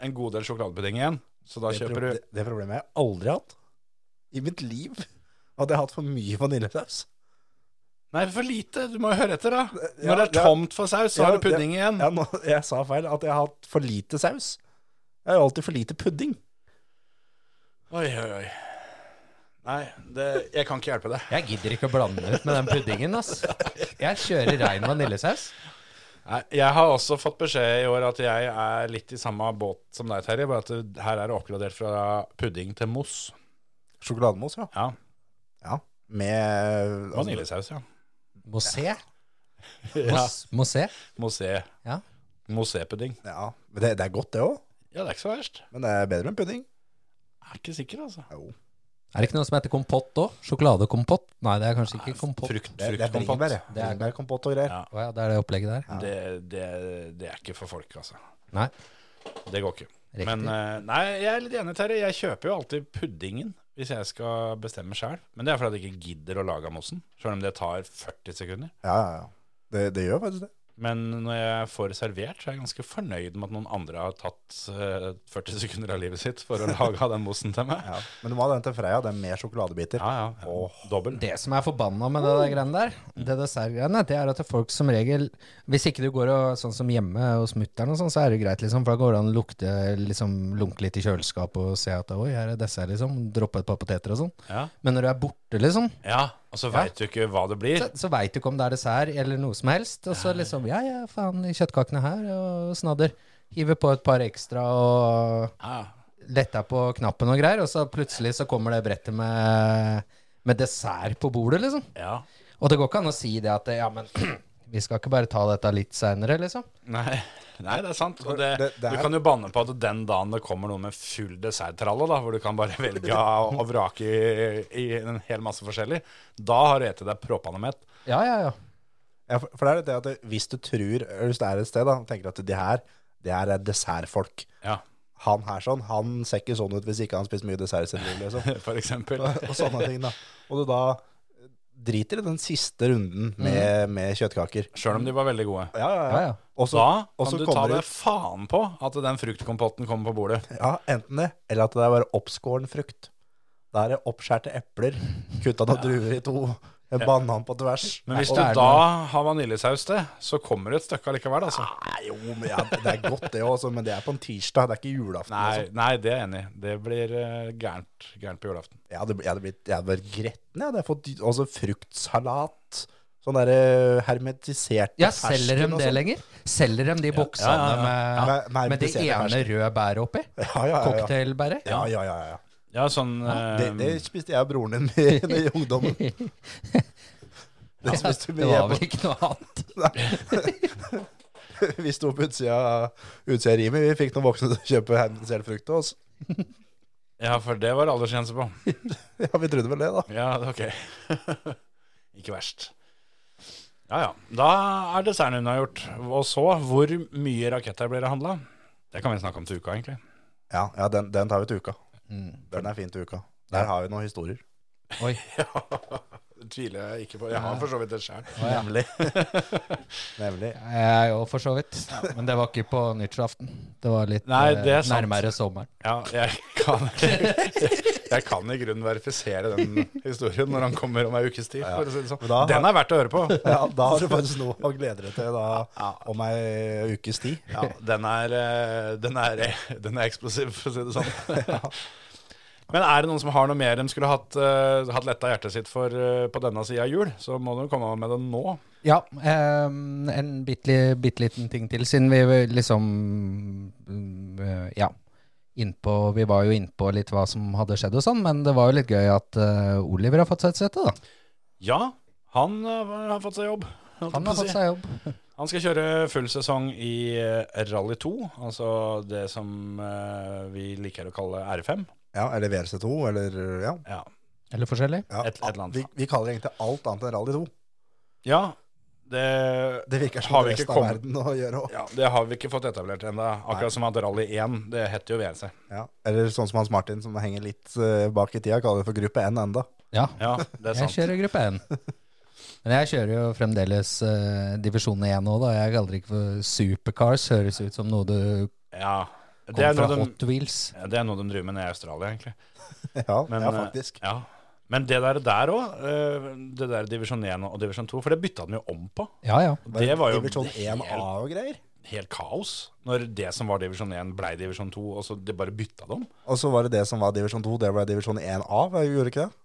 D: en god del sjokoladepudding igjen. Så da
E: Det,
D: kjøper
E: pro-
D: du
E: det, det problemet har jeg aldri hatt. I mitt liv hadde jeg hatt for mye vaniljesaus.
D: Nei, for lite. Du må jo høre etter, da.
E: Ja,
D: Når det er
E: ja.
D: tomt for saus, så har
E: Ja,
D: du pudding igjen.
E: Ja, nå, jeg sa feil, at jeg har hatt for lite saus. Jeg har jo alltid for lite pudding.
D: Oi, oi, oi. Nei, det, jeg kan ikke hjelpe deg.
F: Jeg gidder ikke å blande ut med den puddingen, ass. Jeg kjører rein vaniljesaus.
D: Nei, jeg har også fått beskjed i år at jeg er litt i samme båt som deg, Terje. Bare at det- her er det oppgradert fra pudding til mousse.
E: Sjokolademos, ja. altså-
D: Ja,
E: ja. Med
D: vaniljesaus, ja.
F: Mosé.
D: ja
F: Mos, mosé.
D: mousse.
F: Ja.
D: Mousset-pudding.
E: Ja, men det, det er godt, det òg.
D: Ja, det er ikke så verst.
E: Men det er bedre enn pudding.
D: Jeg er ikke sikker, altså.
E: Jo.
F: Er det ikke noe som heter kompott òg? Sjokoladekompott? Nei, det er kanskje ikke kompott.
D: Frukt,
E: Det, det er
D: fruktkompott.
E: bringebær, ja.
F: Det er-
E: Bringebærkompott og greier.
D: Ja.
F: Å ja, det er det opplegget der.
D: Det, det, det er ikke for folk, altså.
F: Nei.
D: Det går ikke.
F: Riktig.
D: Men eh, nei, jeg er litt enig, Terje. Jeg kjøper jo alltid puddingen hvis jeg skal bestemme sjøl. Men det er fordi jeg ikke gidder å lage mossen, sjøl om det tar 40 sekunder.
E: Ja, ja, ja. Det, det gjør faktisk det.
D: Men når jeg får det servert, så er jeg ganske fornøyd med at noen andre har tatt eh, 40 sekunder av livet sitt for å lage av den mossen til meg.
E: Ja. Men du må ha den til Freia, den med sjokoladebiter.
D: Ja, ja. Dobbel.
F: Det som er forbanna med det der greiene der, det dessertgreiene, det er at folk som regel Hvis ikke du går og sånn som hjemme hos mutter'n og sånn, så er det greit, liksom. For da går det an å lukte, liksom lunke litt i kjøleskapet og se at oi, her er dessert, liksom. Droppe et par poteter og sånn.
D: Ja.
F: Men når du er borte, liksom,
D: ja. Og så veit du ikke hva det blir.
F: så, så veit du ikke om det er dessert eller noe som helst. Og så liksom ja, ja, faen, kjøttkakene her og snadder. Hiver på et par ekstra og
D: Ja.
F: letta på knappen og greier, og så plutselig så kommer det brettet med, med dessert på bordet, liksom.
D: ja.
F: Og det går ikke an å si det at ja, men vi skal ikke bare ta dette litt seinere, liksom.
D: Nei. Nei, det er sant. Og det,
E: Det- det er-
D: Du kan jo banne på at den dagen det kommer noe med full desserttralle, da, hvor du kan bare velge av- og vrake i, i en hel masse forskjellig, da har du spist deg proppene mett.
F: Ja, ja, ja.
E: Ja, for, for det er litt det at det- hvis du tror, eller hvis det er et sted, da, og tenker at de her, det her er dessertfolk.
D: Ja,
E: Han her sånn, han ser ikke sånn ut hvis ikke han spiser mye dessert i sitt liv, liksom.
D: for eksempel.
E: og sånne ting, da. Og du da driter i den siste runden med, med kjøttkaker.
D: Sjøl om de var veldig gode.
E: Ja, ja,
F: ja,
E: ja.
F: ja.
E: Og så-
D: Da
E: og
D: kan
E: så
D: du ta
E: kommer
D: det
E: ut-
D: faen på at den fruktkompotten kommer på bordet.
E: Ja, enten det, eller at det er bare oppskåren frukt. Da er det oppskjærte epler, kutta noen druer i to, en banan på tvers.
D: Men hvis
E: Og-
D: du
F: det er
D: da har vaniljesaus til, så kommer det et stykke allikevel, altså.
E: Nei, Ah, jo, men ja, det er godt det også, men det er på en tirsdag, det er ikke julaften.
D: Nei,
E: liksom.
D: nei, det er jeg enig i. Det blir eh, gærent, gærent på julaften.
E: Jeg hadde, jeg hadde blitt, jeg hadde vært gretten, jeg hadde fått også fruktsalat, sånn der eh, hermetisert
F: ja selger de det
E: sånn.
F: lenger? Selger de de boksene
D: ja, ja.
E: Ja,
F: med,
E: med- med
F: med det
E: hermetisert
F: ene
E: fersk.
F: røde bæret oppi?
E: Ja, ja, ja. ja.
F: Cocktailbæret?
E: Ja, ja, ja, ja.
D: Ja, sånn
E: Det,
D: eh,
E: det spiste jeg og broren din i, i ungdommen. Det
F: Ja,
E: spiste vi
F: det var
E: hjemme.
F: vel ikke noe annet.
E: Vi sto på utsida utsida av rimet. Vi fikk noen voksne til å kjøpe hermetisert frukt til oss.
D: Ja, for det var det aldersgrense på.
E: Ja, vi trodde vel det, da.
D: Ja, det- ok. Ikke verst. Ja, ja. Da er desserten unnagjort. Og så, hvor mye raketter blir det handla? Det kan vi snakke om til uka, egentlig.
E: Ja, ja den, den tar vi til uka. Den er fin til uka. Der har vi noen historier.
F: Mm. Oi.
D: Det tviler jeg ikke på. Jeg har for så vidt det sjøl.
E: Nemlig. Nemlig.
F: Jeg òg, for så vidt. Men det var ikke på nyttårsaften. Det var litt
D: Nei,
F: eh,
D: det er sant.
F: nærmere sommeren.
D: Ja, jeg kan, jeg kan i grunnen verifisere den historien når han kommer om ei ukes tid. For å si
E: Men
D: det
E: da
D: sånn.
E: har-
D: Den er verdt å høre på.
E: Ja, da har du faktisk noe å glede deg til da, om ei ukes tid.
D: Ja, den er, eh, den er, den er eksplosiv, for å si det sånn. Men er det noen som har noe mer de skulle hatt, eh, hatt letta hjertet sitt for eh, på denne sida av jul, så må de komme med det nå.
F: Ja, ehm, en bitte, bitte liten ting til, siden vi liksom mm, Ja. Innpå, vi var jo innpå litt hva som hadde skjedd og sånn, men det var jo litt gøy at eh, Oliver har fått seg et sete, da.
D: Ja, han eh, har fått seg jobb. holdt
F: Han har
D: jeg på å
F: fått
D: si.
F: seg jobb.
D: han skal kjøre full sesong i eh, Rally 2, altså det som eh, vi liker å kalle R5.
E: Ja, eller VRC2, eller ja.
D: Ja,
F: Eller forskjellig.
E: ja.
D: Et- et eller annet.
E: Vi, vi kaller det egentlig alt annet enn Rally 2.
D: ja det,
E: Det virker som
D: Har
E: det
D: vi
E: resten
D: ikke
E: av
D: kommet-
E: verden å gjøre òg.
D: ja, det har vi ikke fått etablert ennå. Akkurat som at Rally 1, det heter jo VNC.
E: Ja. Eller sånn som Hans Martin, som henger litt eh, bak i tida, kaller det for Gruppe N enda.
F: Ja,
D: Ja, det er
F: jeg
D: sant.
F: kjører gruppe 1. Men jeg kjører jo fremdeles eh, divisjon 1 nå, da. Jeg kaller det ikke for supercars. Høres ut som noe du
D: Ja, det er
F: kommer
D: noe
F: fra
D: de
F: Hot Wheels.
D: Ja, Det er noe de driver med nede i Australia, egentlig.
E: Ja,
D: Men,
E: ja, faktisk.
D: eh, ja. Men det der der òg, det der divisjon 1 og divisjon 2, for det bytta de jo om på.
F: Ja, ja.
D: Og Det var jo
E: Divisjon 1A
D: helt,
E: og greier.
D: helt kaos når det som var divisjon 1, blei divisjon 2, og så det bare bytta dem.
E: Og så var det det som var divisjon 2, det ble divisjon 1A, hva gjorde ikke det?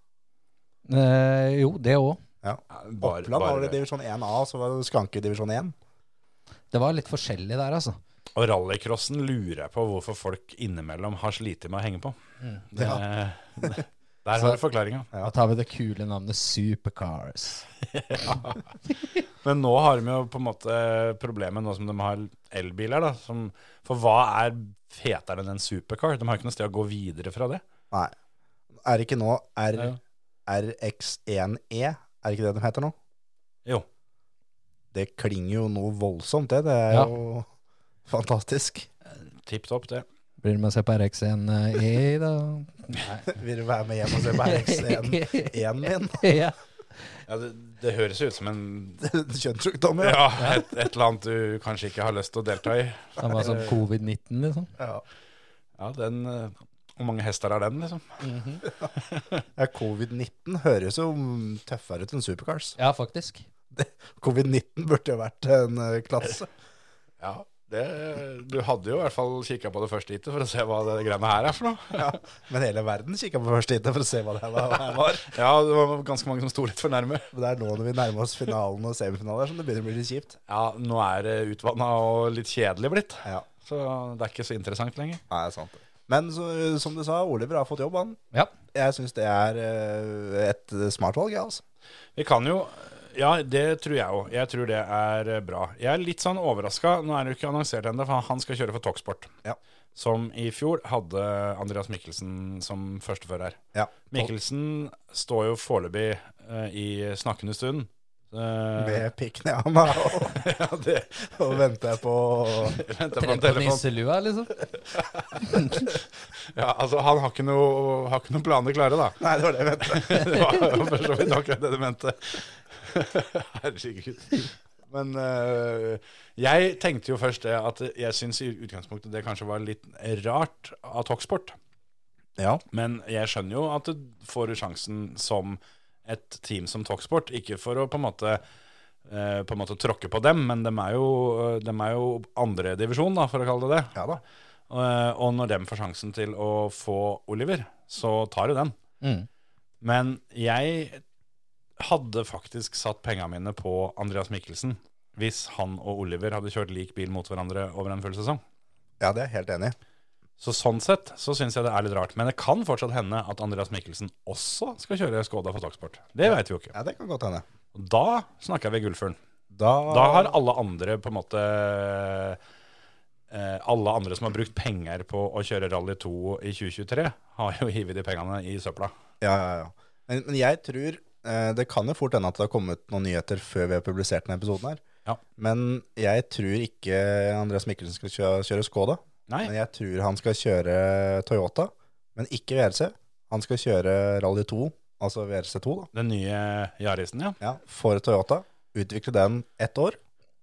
F: Eh, jo, det òg.
E: Ja.
D: Bare-
E: Oppland var det
D: bare-
E: divisjon 1A, så var det Skanke divisjon 1.
F: Det var litt forskjellig der, altså.
D: Og rallycrossen lurer jeg på hvorfor folk innimellom har slitt med å henge på.
E: Mm.
D: Det, Der har du forklaringa.
F: Da tar vi det kule navnet Supercars.
D: Men nå har de jo på en måte problemet nå som de har elbiler, da. Som, for hva er fetere enn en supercar? De har ikke noe sted å gå videre fra det.
E: Nei. Er ikke nå R,
D: Ja.
E: RX1E? Er ikke det de heter nå?
D: Jo.
E: Det klinger jo noe voldsomt, det. Det er
F: Ja.
E: jo fantastisk.
D: Tipp topp, det.
F: Blir det med å se på RX1E, eh, da?
E: Vil du være med hjem og se på RX1-en min?
F: ja.
D: Ja, det, det høres jo ut som en
E: Kjønnssykdommer, ja.
D: ja, et, et eller annet du kanskje ikke har lyst til å delta i.
F: Han var
D: Eh.
F: sånn covid-19, liksom.
E: ja.
D: Ja, den eh, Hvor mange hester er den, liksom?
E: ja Covid-19 høres jo tøffere ut enn supercars.
F: Ja, faktisk.
E: Covid-19 burde jo vært en eh, klasse.
D: Ja, det, Du hadde jo i hvert fall kikka på det første hitet for å se hva det greiene her er for noe.
E: Ja. Men hele verden kikka på første hit for å se hva det var. her var.
D: Ja, det var ganske mange som sto litt for nærme.
E: Men det er nå når vi nærmer oss finalen og semifinaler som det begynner å bli litt kjipt.
D: Ja, nå er det utvanna og litt kjedelig blitt.
E: Ja,
D: Så det er ikke så interessant lenger.
E: det er sant. Men så, som du sa, Oliver har fått jobb, han.
F: Ja.
E: Jeg syns det er eh, et smart valg, jeg, altså.
D: Vi kan jo Ja, det tror jeg òg. Jeg tror det er eh, bra. Jeg er litt sånn overraska. Nå er det jo ikke annonsert ennå, for han skal kjøre for Toksport.
E: Ja.
D: Som i fjor hadde Andreas Mikkelsen som førstefører.
E: Ja.
D: Mikkelsen står jo foreløpig eh, i snakkende stund. Eh,
E: Med pikken i handa og,
D: ja, det
E: og venter på
D: Venter på
F: Tre
D: en
F: på
D: telefon.
F: nisselua, liksom.
D: Ja, altså, han har ikke noe, har ikke noen planer klare, da.
E: Nei, det var det jeg ventet.
D: det var jo for så vidt akkurat det du mente. Herregud. Men øh, jeg tenkte jo først det at jeg syns i utgangspunktet det kanskje var litt rart av Talksport.
E: Ja.
D: Men jeg skjønner jo at du får sjansen som et team som Talksport. Ikke for å på en måte, eh, på en måte tråkke på dem, men de er jo, eh, dem er jo andredivisjon, for å kalle det det.
E: ja da.
D: Eh, og når dem får sjansen til å få Oliver, så tar de den.
F: Mm.
D: Men jeg hadde faktisk satt pengene mine på Andreas Mikkelsen hvis han og Oliver hadde kjørt lik bil mot hverandre over en full sesong.
E: Ja, det er jeg helt enig i.
D: Så sånn sett så syns jeg det er litt rart. Men det kan fortsatt hende at Andreas Mikkelsen også skal kjøre Skoda for Taksport. Det veit vi jo ikke.
E: Ja, det kan godt hende.
D: Og da snakker vi Gullfuglen.
E: Da,
D: Da har alle andre på en måte eh, Alle andre som har brukt penger på å kjøre Rally 2 i 2023, har jo hivet de pengene i søpla.
E: Ja, ja, ja. Men, men jeg tror eh, Det kan jo fort hende at det har kommet noen nyheter før vi har publisert denne episoden her.
D: Ja.
E: Men jeg tror ikke Andreas Mikkelsen skal kjøre, kjøre Skoda.
D: Nei,
E: Men jeg tror han skal kjøre Toyota, men ikke VRC. Han skal kjøre Rally 2, altså VRC2, da.
D: den nye Yarisen, ja.
E: Ja, for Toyota. Utvikle den ett år,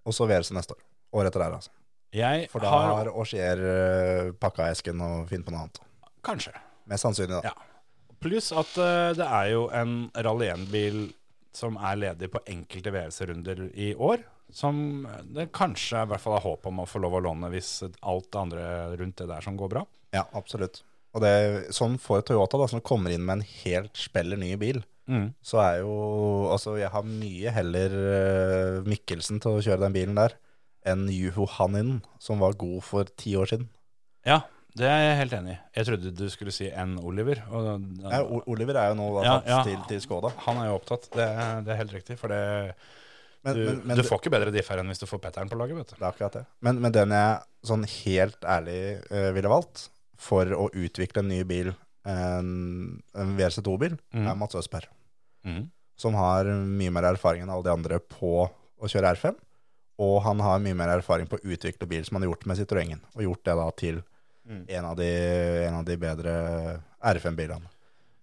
E: og så VRC neste år. Året etter der, altså.
D: Jeg
E: For da
D: har,
E: har Auxier eh, pakka esken og finner på noe annet.
D: Kanskje.
E: Mest sannsynlig, da.
D: Ja. Pluss at eh, det er jo en Rally 1-bil som er ledig på enkelte VRC-runder i år. Som eh, det kanskje i hvert fall er håp om å få lov å låne hvis alt det andre rundt det der som går bra.
E: Ja, absolutt. Og det, sånn for Toyota, da, som kommer inn med en helt speller ny bil, så er jo Altså, jeg har mye heller eh, Mikkelsen til å kjøre den bilen der enn Juho Haninen, som var god for ti år siden.
D: Ja, det er jeg helt enig i. Jeg trodde du skulle si en Oliver. Og, da-
E: Nei, O- Oliver er jo nå da,
D: Ja,
E: tatt
D: ja.
E: til, til Skoda.
D: han er jo opptatt, det, er- det er helt riktig. For det,
E: Men,
D: du,
E: men, men,
D: du får ikke bedre diff her enn hvis du får Petteren på laget, vet du.
E: Det er akkurat det. Men, men den jeg sånn helt ærlig eh, ville valgt for å utvikle en ny bil, eh, en, en VRC2-bil,
D: Mm.
E: er Mats Østberg. Mm.
D: Mhm.
E: Som har mye mer erfaring enn alle de andre på å kjøre R5. Og han har mye mer erfaring på å utvikle bil som han har gjort med Citroën. Og gjort det da til en, av de, en av de bedre R5-bilene.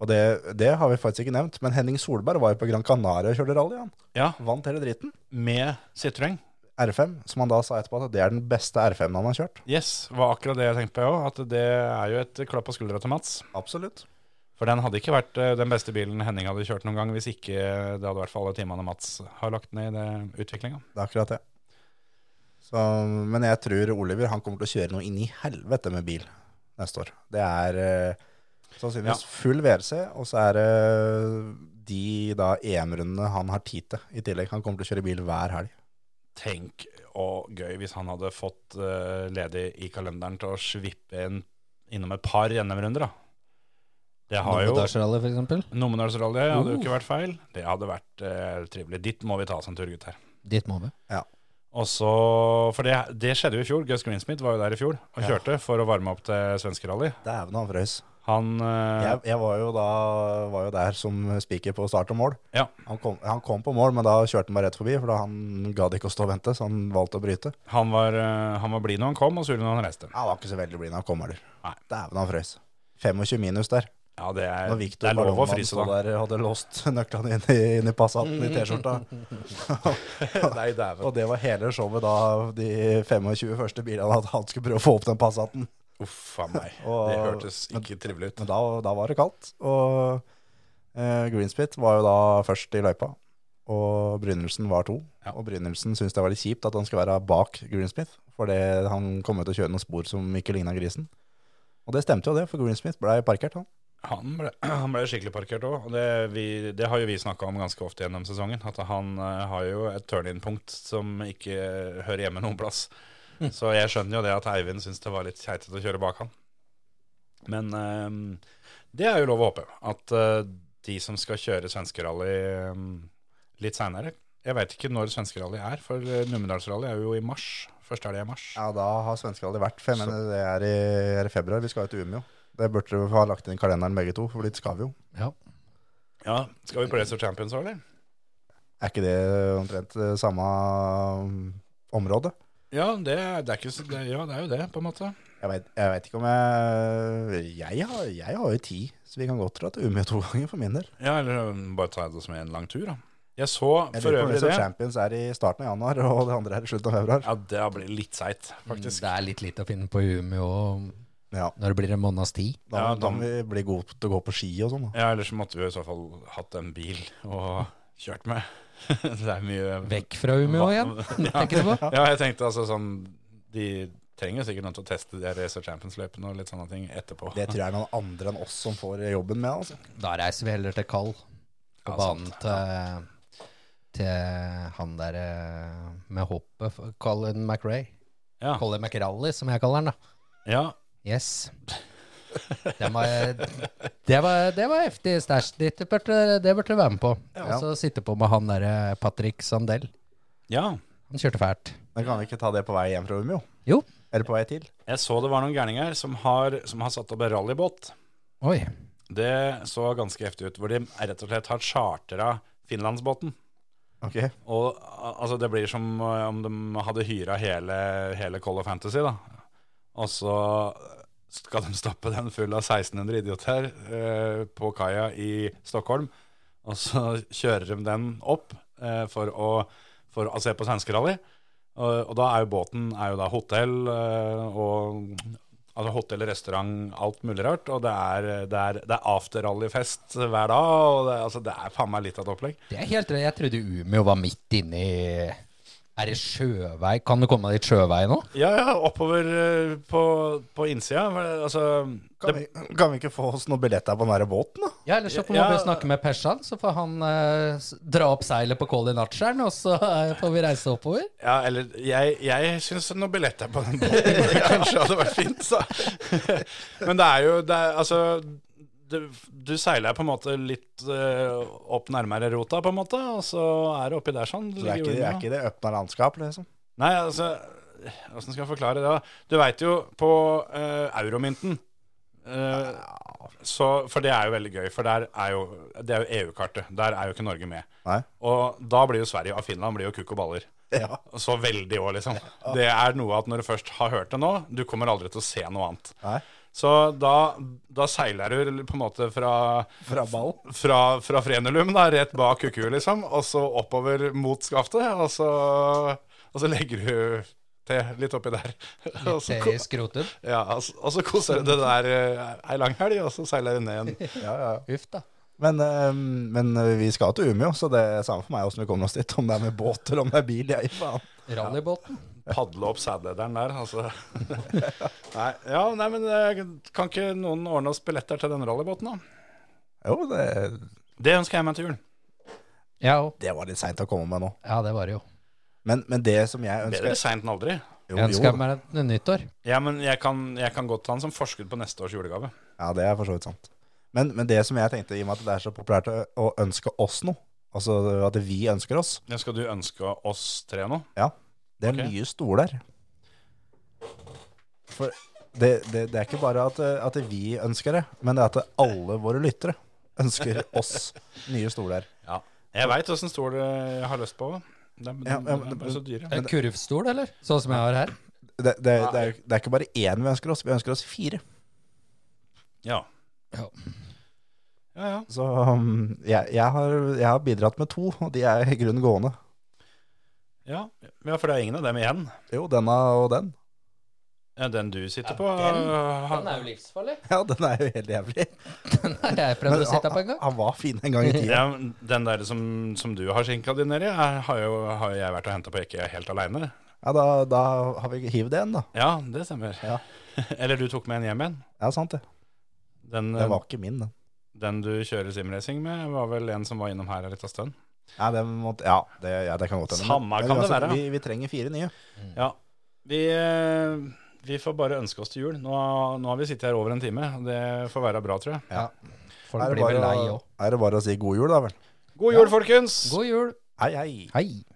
E: Og det, det har vi faktisk ikke nevnt, men Henning Solberg var jo på Gran Canaria og kjørte rally. Han
D: Ja,
E: vant hele dritten.
D: med Citroën.
E: R5, som han da sa etterpå at det er den beste R5-en han har kjørt.
D: Yes, var akkurat det jeg tenkte på jeg òg. At det er jo et klapp på skuldra til Mats.
E: Absolutt.
D: For den hadde ikke vært eh, den beste bilen Henning hadde kjørt noen gang, hvis ikke eh, det hadde vært for alle timene Mats har lagt ned i det utviklinga.
E: Det er akkurat det. Så, men jeg tror Oliver han kommer til å kjøre noe inn i helvete med bil neste år. Det er eh, sannsynligvis full VRC, og så er det de da EM-rundene han har tid til i tillegg. Han kommer til å kjøre bil hver helg.
D: Tenk og gøy hvis han hadde fått eh, ledig i kalenderen til å svippe inn innom et par NM-runder, da. Det har jo
F: Dagsrally, for eksempel.
D: Nominalsrally hadde jo
F: Uh.
D: ikke vært feil. Det hadde vært eh, trivelig. Dit må vi ta oss en tur, gutter.
F: Dit må vi.
D: Og så, For det, det skjedde jo i fjor. Gus Greensmith var jo der i fjor og
E: Ja.
D: kjørte for å varme opp til svenskerally.
E: Dæven, han frøs.
D: Han eh,
E: Jeg, jeg var, jo da, var jo der som spiker på start og mål.
D: Ja.
E: Han kom, han kom på mål, men da kjørte han bare rett forbi, for da han gadd ikke å stå og vente, så han valgte å bryte.
D: Han var, eh, han var blid når han kom, og sur når han reiste.
E: Han var ikke så veldig blid når han kom heller.
D: Nei.
E: Dæven, han frøs. 25 minus der.
D: Ja, det er,
E: Når
D: det
E: Victor
D: er lov å
E: Ballonmann
D: fryse,
E: stod
D: da.
E: der hadde låst nøklene inn i, inn i Passaten i T-skjorta.
D: Nei, dæven.
E: og det var hele showet da de 25 første bilene at han skulle prøve å få opp den Passaten.
D: Uff a meg.
E: Og-
D: Det hørtes ikke trivelig ut.
E: Men da, da var det kaldt, og eh, Greenspit var jo da først i løypa. Og Brynildsen var to.
D: Ja.
E: Og Brynildsen syntes det var litt kjipt at han skulle være bak Greensmith, fordi han kom jo til å kjøre noen spor som ikke ligna grisen. Og det stemte jo det, for Greensmith ble parkert, han.
D: Han ble, han ble skikkelig parkert òg. Det, vi- det har jo vi snakka om ganske ofte gjennom sesongen. At han eh, har jo et turn-in-punkt som ikke hører hjemme noen plass.
E: Hm.
D: Så jeg skjønner jo det at Eivind syns det var litt keitete å kjøre bak han. Men eh, det er jo lov å håpe. At eh, de som skal kjøre svenskerally eh, litt seinere Jeg veit ikke når svenskerally er, for eh, Numedalsrally er jo i mars. Første helga i mars.
E: Ja, da har svenskene aldri vært, for jeg mener det er i, er i februar. Vi skal jo til Umeå. Det burde vi ha lagt inn i kalenderen begge to, for dit skal vi jo.
F: Ja.
D: Ja, Skal vi på Race of Champions òg, eller?
E: Er ikke det omtrent eh, samme mm, område?
D: Ja det, er- det er ikke, så- det, ja, det er jo det, på en måte.
E: Jeg vet, jeg vet ikke om jeg jeg har, jeg har jo ti, så vi kan godt dra til Umeå to ganger for min del.
D: Ja, eller um, bare ta det som en lang tur, da. Jeg så
E: Jeg
D: for
E: lurer på om
D: øvrig
E: Race of
D: det.
E: Champions er i starten av januar, og det andre er i slutten av februar.
D: Ja, det blir litt seigt, faktisk.
F: Det er litt lite å finne på Umeå
E: Ja,
F: når det blir en måneds tid.
E: Da,
D: Ja,
E: da
D: da-
E: må vi bli gode til å gå på ski og sånn. da.
D: Ja, ellers så måtte vi jo i så fall hatt en bil og kjørt med. det er mye
F: Vekk fra Umeå igjen, tenker du på?
D: Ja, jeg tenkte altså sånn De trenger jo sikkert noen til å teste de her Race of Champions-løpene og litt sånne ting etterpå.
E: Det tror jeg er noen andre enn oss som får jobben med. altså.
F: Da reiser vi heller til Kall. På
D: Ja,
F: banen
D: sant.
F: til, til han der eh, med hoppet, for- Colin McRae.
D: Ja.
F: Colin McRally, som jeg kaller han, da.
D: ja.
F: Yes. Det var, det var, det var heftig stæsj. Det burde det burde du være med på. Og så sitte på med han derre Patrick Sandell.
D: ja.
F: Han kjørte fælt.
E: Men kan vi ikke ta det på vei hjem fra Umeå?
F: Jo.
E: Eller på vei til?
D: Jeg så det var noen gærninger som har, som har satt opp en rallybåt.
F: Oi.
D: Det så ganske heftig ut. Hvor de rett og slett har chartra Finlandsbåten.
E: Ok,
D: Og al- altså, det blir som eh, om de hadde hyra hele, hele Call of Fantasy, da. Og så skal de stappe den full av 1600 idioter eh, på kaia i Stockholm. Og så kjører de den opp eh, for, å, for å se på svenskerally. Og, og da er jo båten er jo da hotell eh, og altså hotell, restaurant, alt mulig rart. Og det er, det er, det er afterrallyfest hver dag. Og det, altså, det er faen meg litt av et opplegg.
F: Det er helt rett. Jeg trodde Umeå var midt inne i Er det sjøvei? Kan du komme deg dit sjøvei nå?
D: Ja, ja, oppover eh, på, på innsida. men, Altså,
E: kan,
D: det,
E: vi, kan vi ikke få oss noen billetter på den der båten, da?
F: Ja, ellers så kan
D: Ja.
F: man bare snakke med Persan, så får han eh, s- dra opp seilet på Colin Archeren, og så eh, får vi reise oppover.
D: ja, eller Jeg, jeg syns noen billetter på den båten kanskje hadde vært fint, så. Men det er jo det er, Altså, du, du seiler på en måte litt eh, opp nærmere rota, på en måte, og så er det oppi der sånn.
E: Så det er ikke, det er ikke det åpna landskap, liksom.
D: Nei, altså Åssen skal jeg forklare det? da? Du veit jo på eh, euromynten eh, så, For det er jo veldig gøy, for der er jo, det er jo EU-kartet. Der er jo ikke Norge med.
E: Nei.
D: Og da blir jo Sverige og Finland blir jo kukk og baller.
E: Ja.
D: Så veldig òg, liksom. Det er noe at når du først har hørt det nå, du kommer aldri til å se noe annet.
E: Nei.
D: Så da, da seiler du på en måte fra
E: Fra ball.
D: fra, fra frenulum, da, rett bak kuku, liksom, og så oppover mot skaftet, og så, og så legger du til litt oppi der. Og så,
F: Se
D: ko-
F: i skrotum.
D: ja, og så- og så koser du det der eh, ei lang helg, og så seiler du ned igjen.
E: Ja, ja.
F: Uff da.
E: Men, eh, men vi skal til Umeå, så det er samme for meg åssen vi kommer oss dit. Om det er med båt eller om det er bil. Jeg, faen.
F: Rallybåten.
D: Padle opp sædlederen der, altså. Nei, ja, nei, men eh, kan ikke noen ordne oss billetter til den rallybåten, da?
E: Jo, det,
D: Det ønsker jeg meg til jul.
F: Ja, og-
E: det var litt seint å komme med nå.
F: ja, det var det jo.
E: Men, men det som jeg
D: Bedre
E: ønsker
D: seint enn aldri.
E: jo,
F: Jeg ønsker
E: jo,
F: meg et nyttår.
D: Ja, men jeg kan, jeg kan godt ta den som forskudd på neste års julegave.
E: Ja, det er for så vidt sant. Men, men det som jeg tenkte, i og med at det er så populært å, å ønske oss noe, Altså at vi ønsker oss.
D: Ja, skal du ønske oss tre nå?
E: Ja. Det er
D: Ok.
E: nye stoler. For det, det, det er ikke bare at, eh, at vi ønsker det, men det er at alle våre lyttere ønsker oss nye stoler.
D: Ja. Jeg veit åssen stol eh, jeg har lyst på. Det er,
E: Ja, ja,
D: det er bare så dyre.
F: En kurvstol, eller? Sånn som jeg har her.
E: Det, det, det, er, det er ikke bare én vi ønsker oss, vi ønsker oss fire.
D: Ja.
F: Ja.
D: Ja, ja.
E: Så um, jeg, jeg, har, jeg har bidratt med to, og de er i grunnen gående.
D: ja. ja for det er ingen av dem igjen.
E: Jo, denne og den.
D: Ja, den du sitter på eh,
F: Den er jo livsfarlig.
E: Ja, den er jo helt jævlig.
F: Den har jeg prøvd å sitte på en gang.
E: han var fin en gang i tida.
D: ja, Den der som, som du har skinka di nedi, er- har jo har jo jeg vært og henta på Eke helt aleine.
E: Ja, da, da har vi hivd en, da.
D: Ja, det stemmer.
E: Ja.
D: Eller du tok med en hjem igjen.
E: Ja, sant det.
D: Den,
E: Den var ikke min, den.
D: den du kjører simracing med, var vel en som var innom her en liten stund.
E: Ja, det, måtte, ja, det, ja, det kan godt hende.
D: Samme kan det
E: uansett,
D: være, ja.
E: Vi, vi trenger fire nye.
D: Ja. Vi, eh, vi får bare ønske oss til jul. Nå, nå har vi sittet her over en time. og Det får være bra, tror jeg.
F: Folk blir vel lei
E: å,
F: òg.
E: er det bare å si god jul, da vel?
D: God jul, folkens!
F: God jul.
E: Hei, hei.
F: Hei.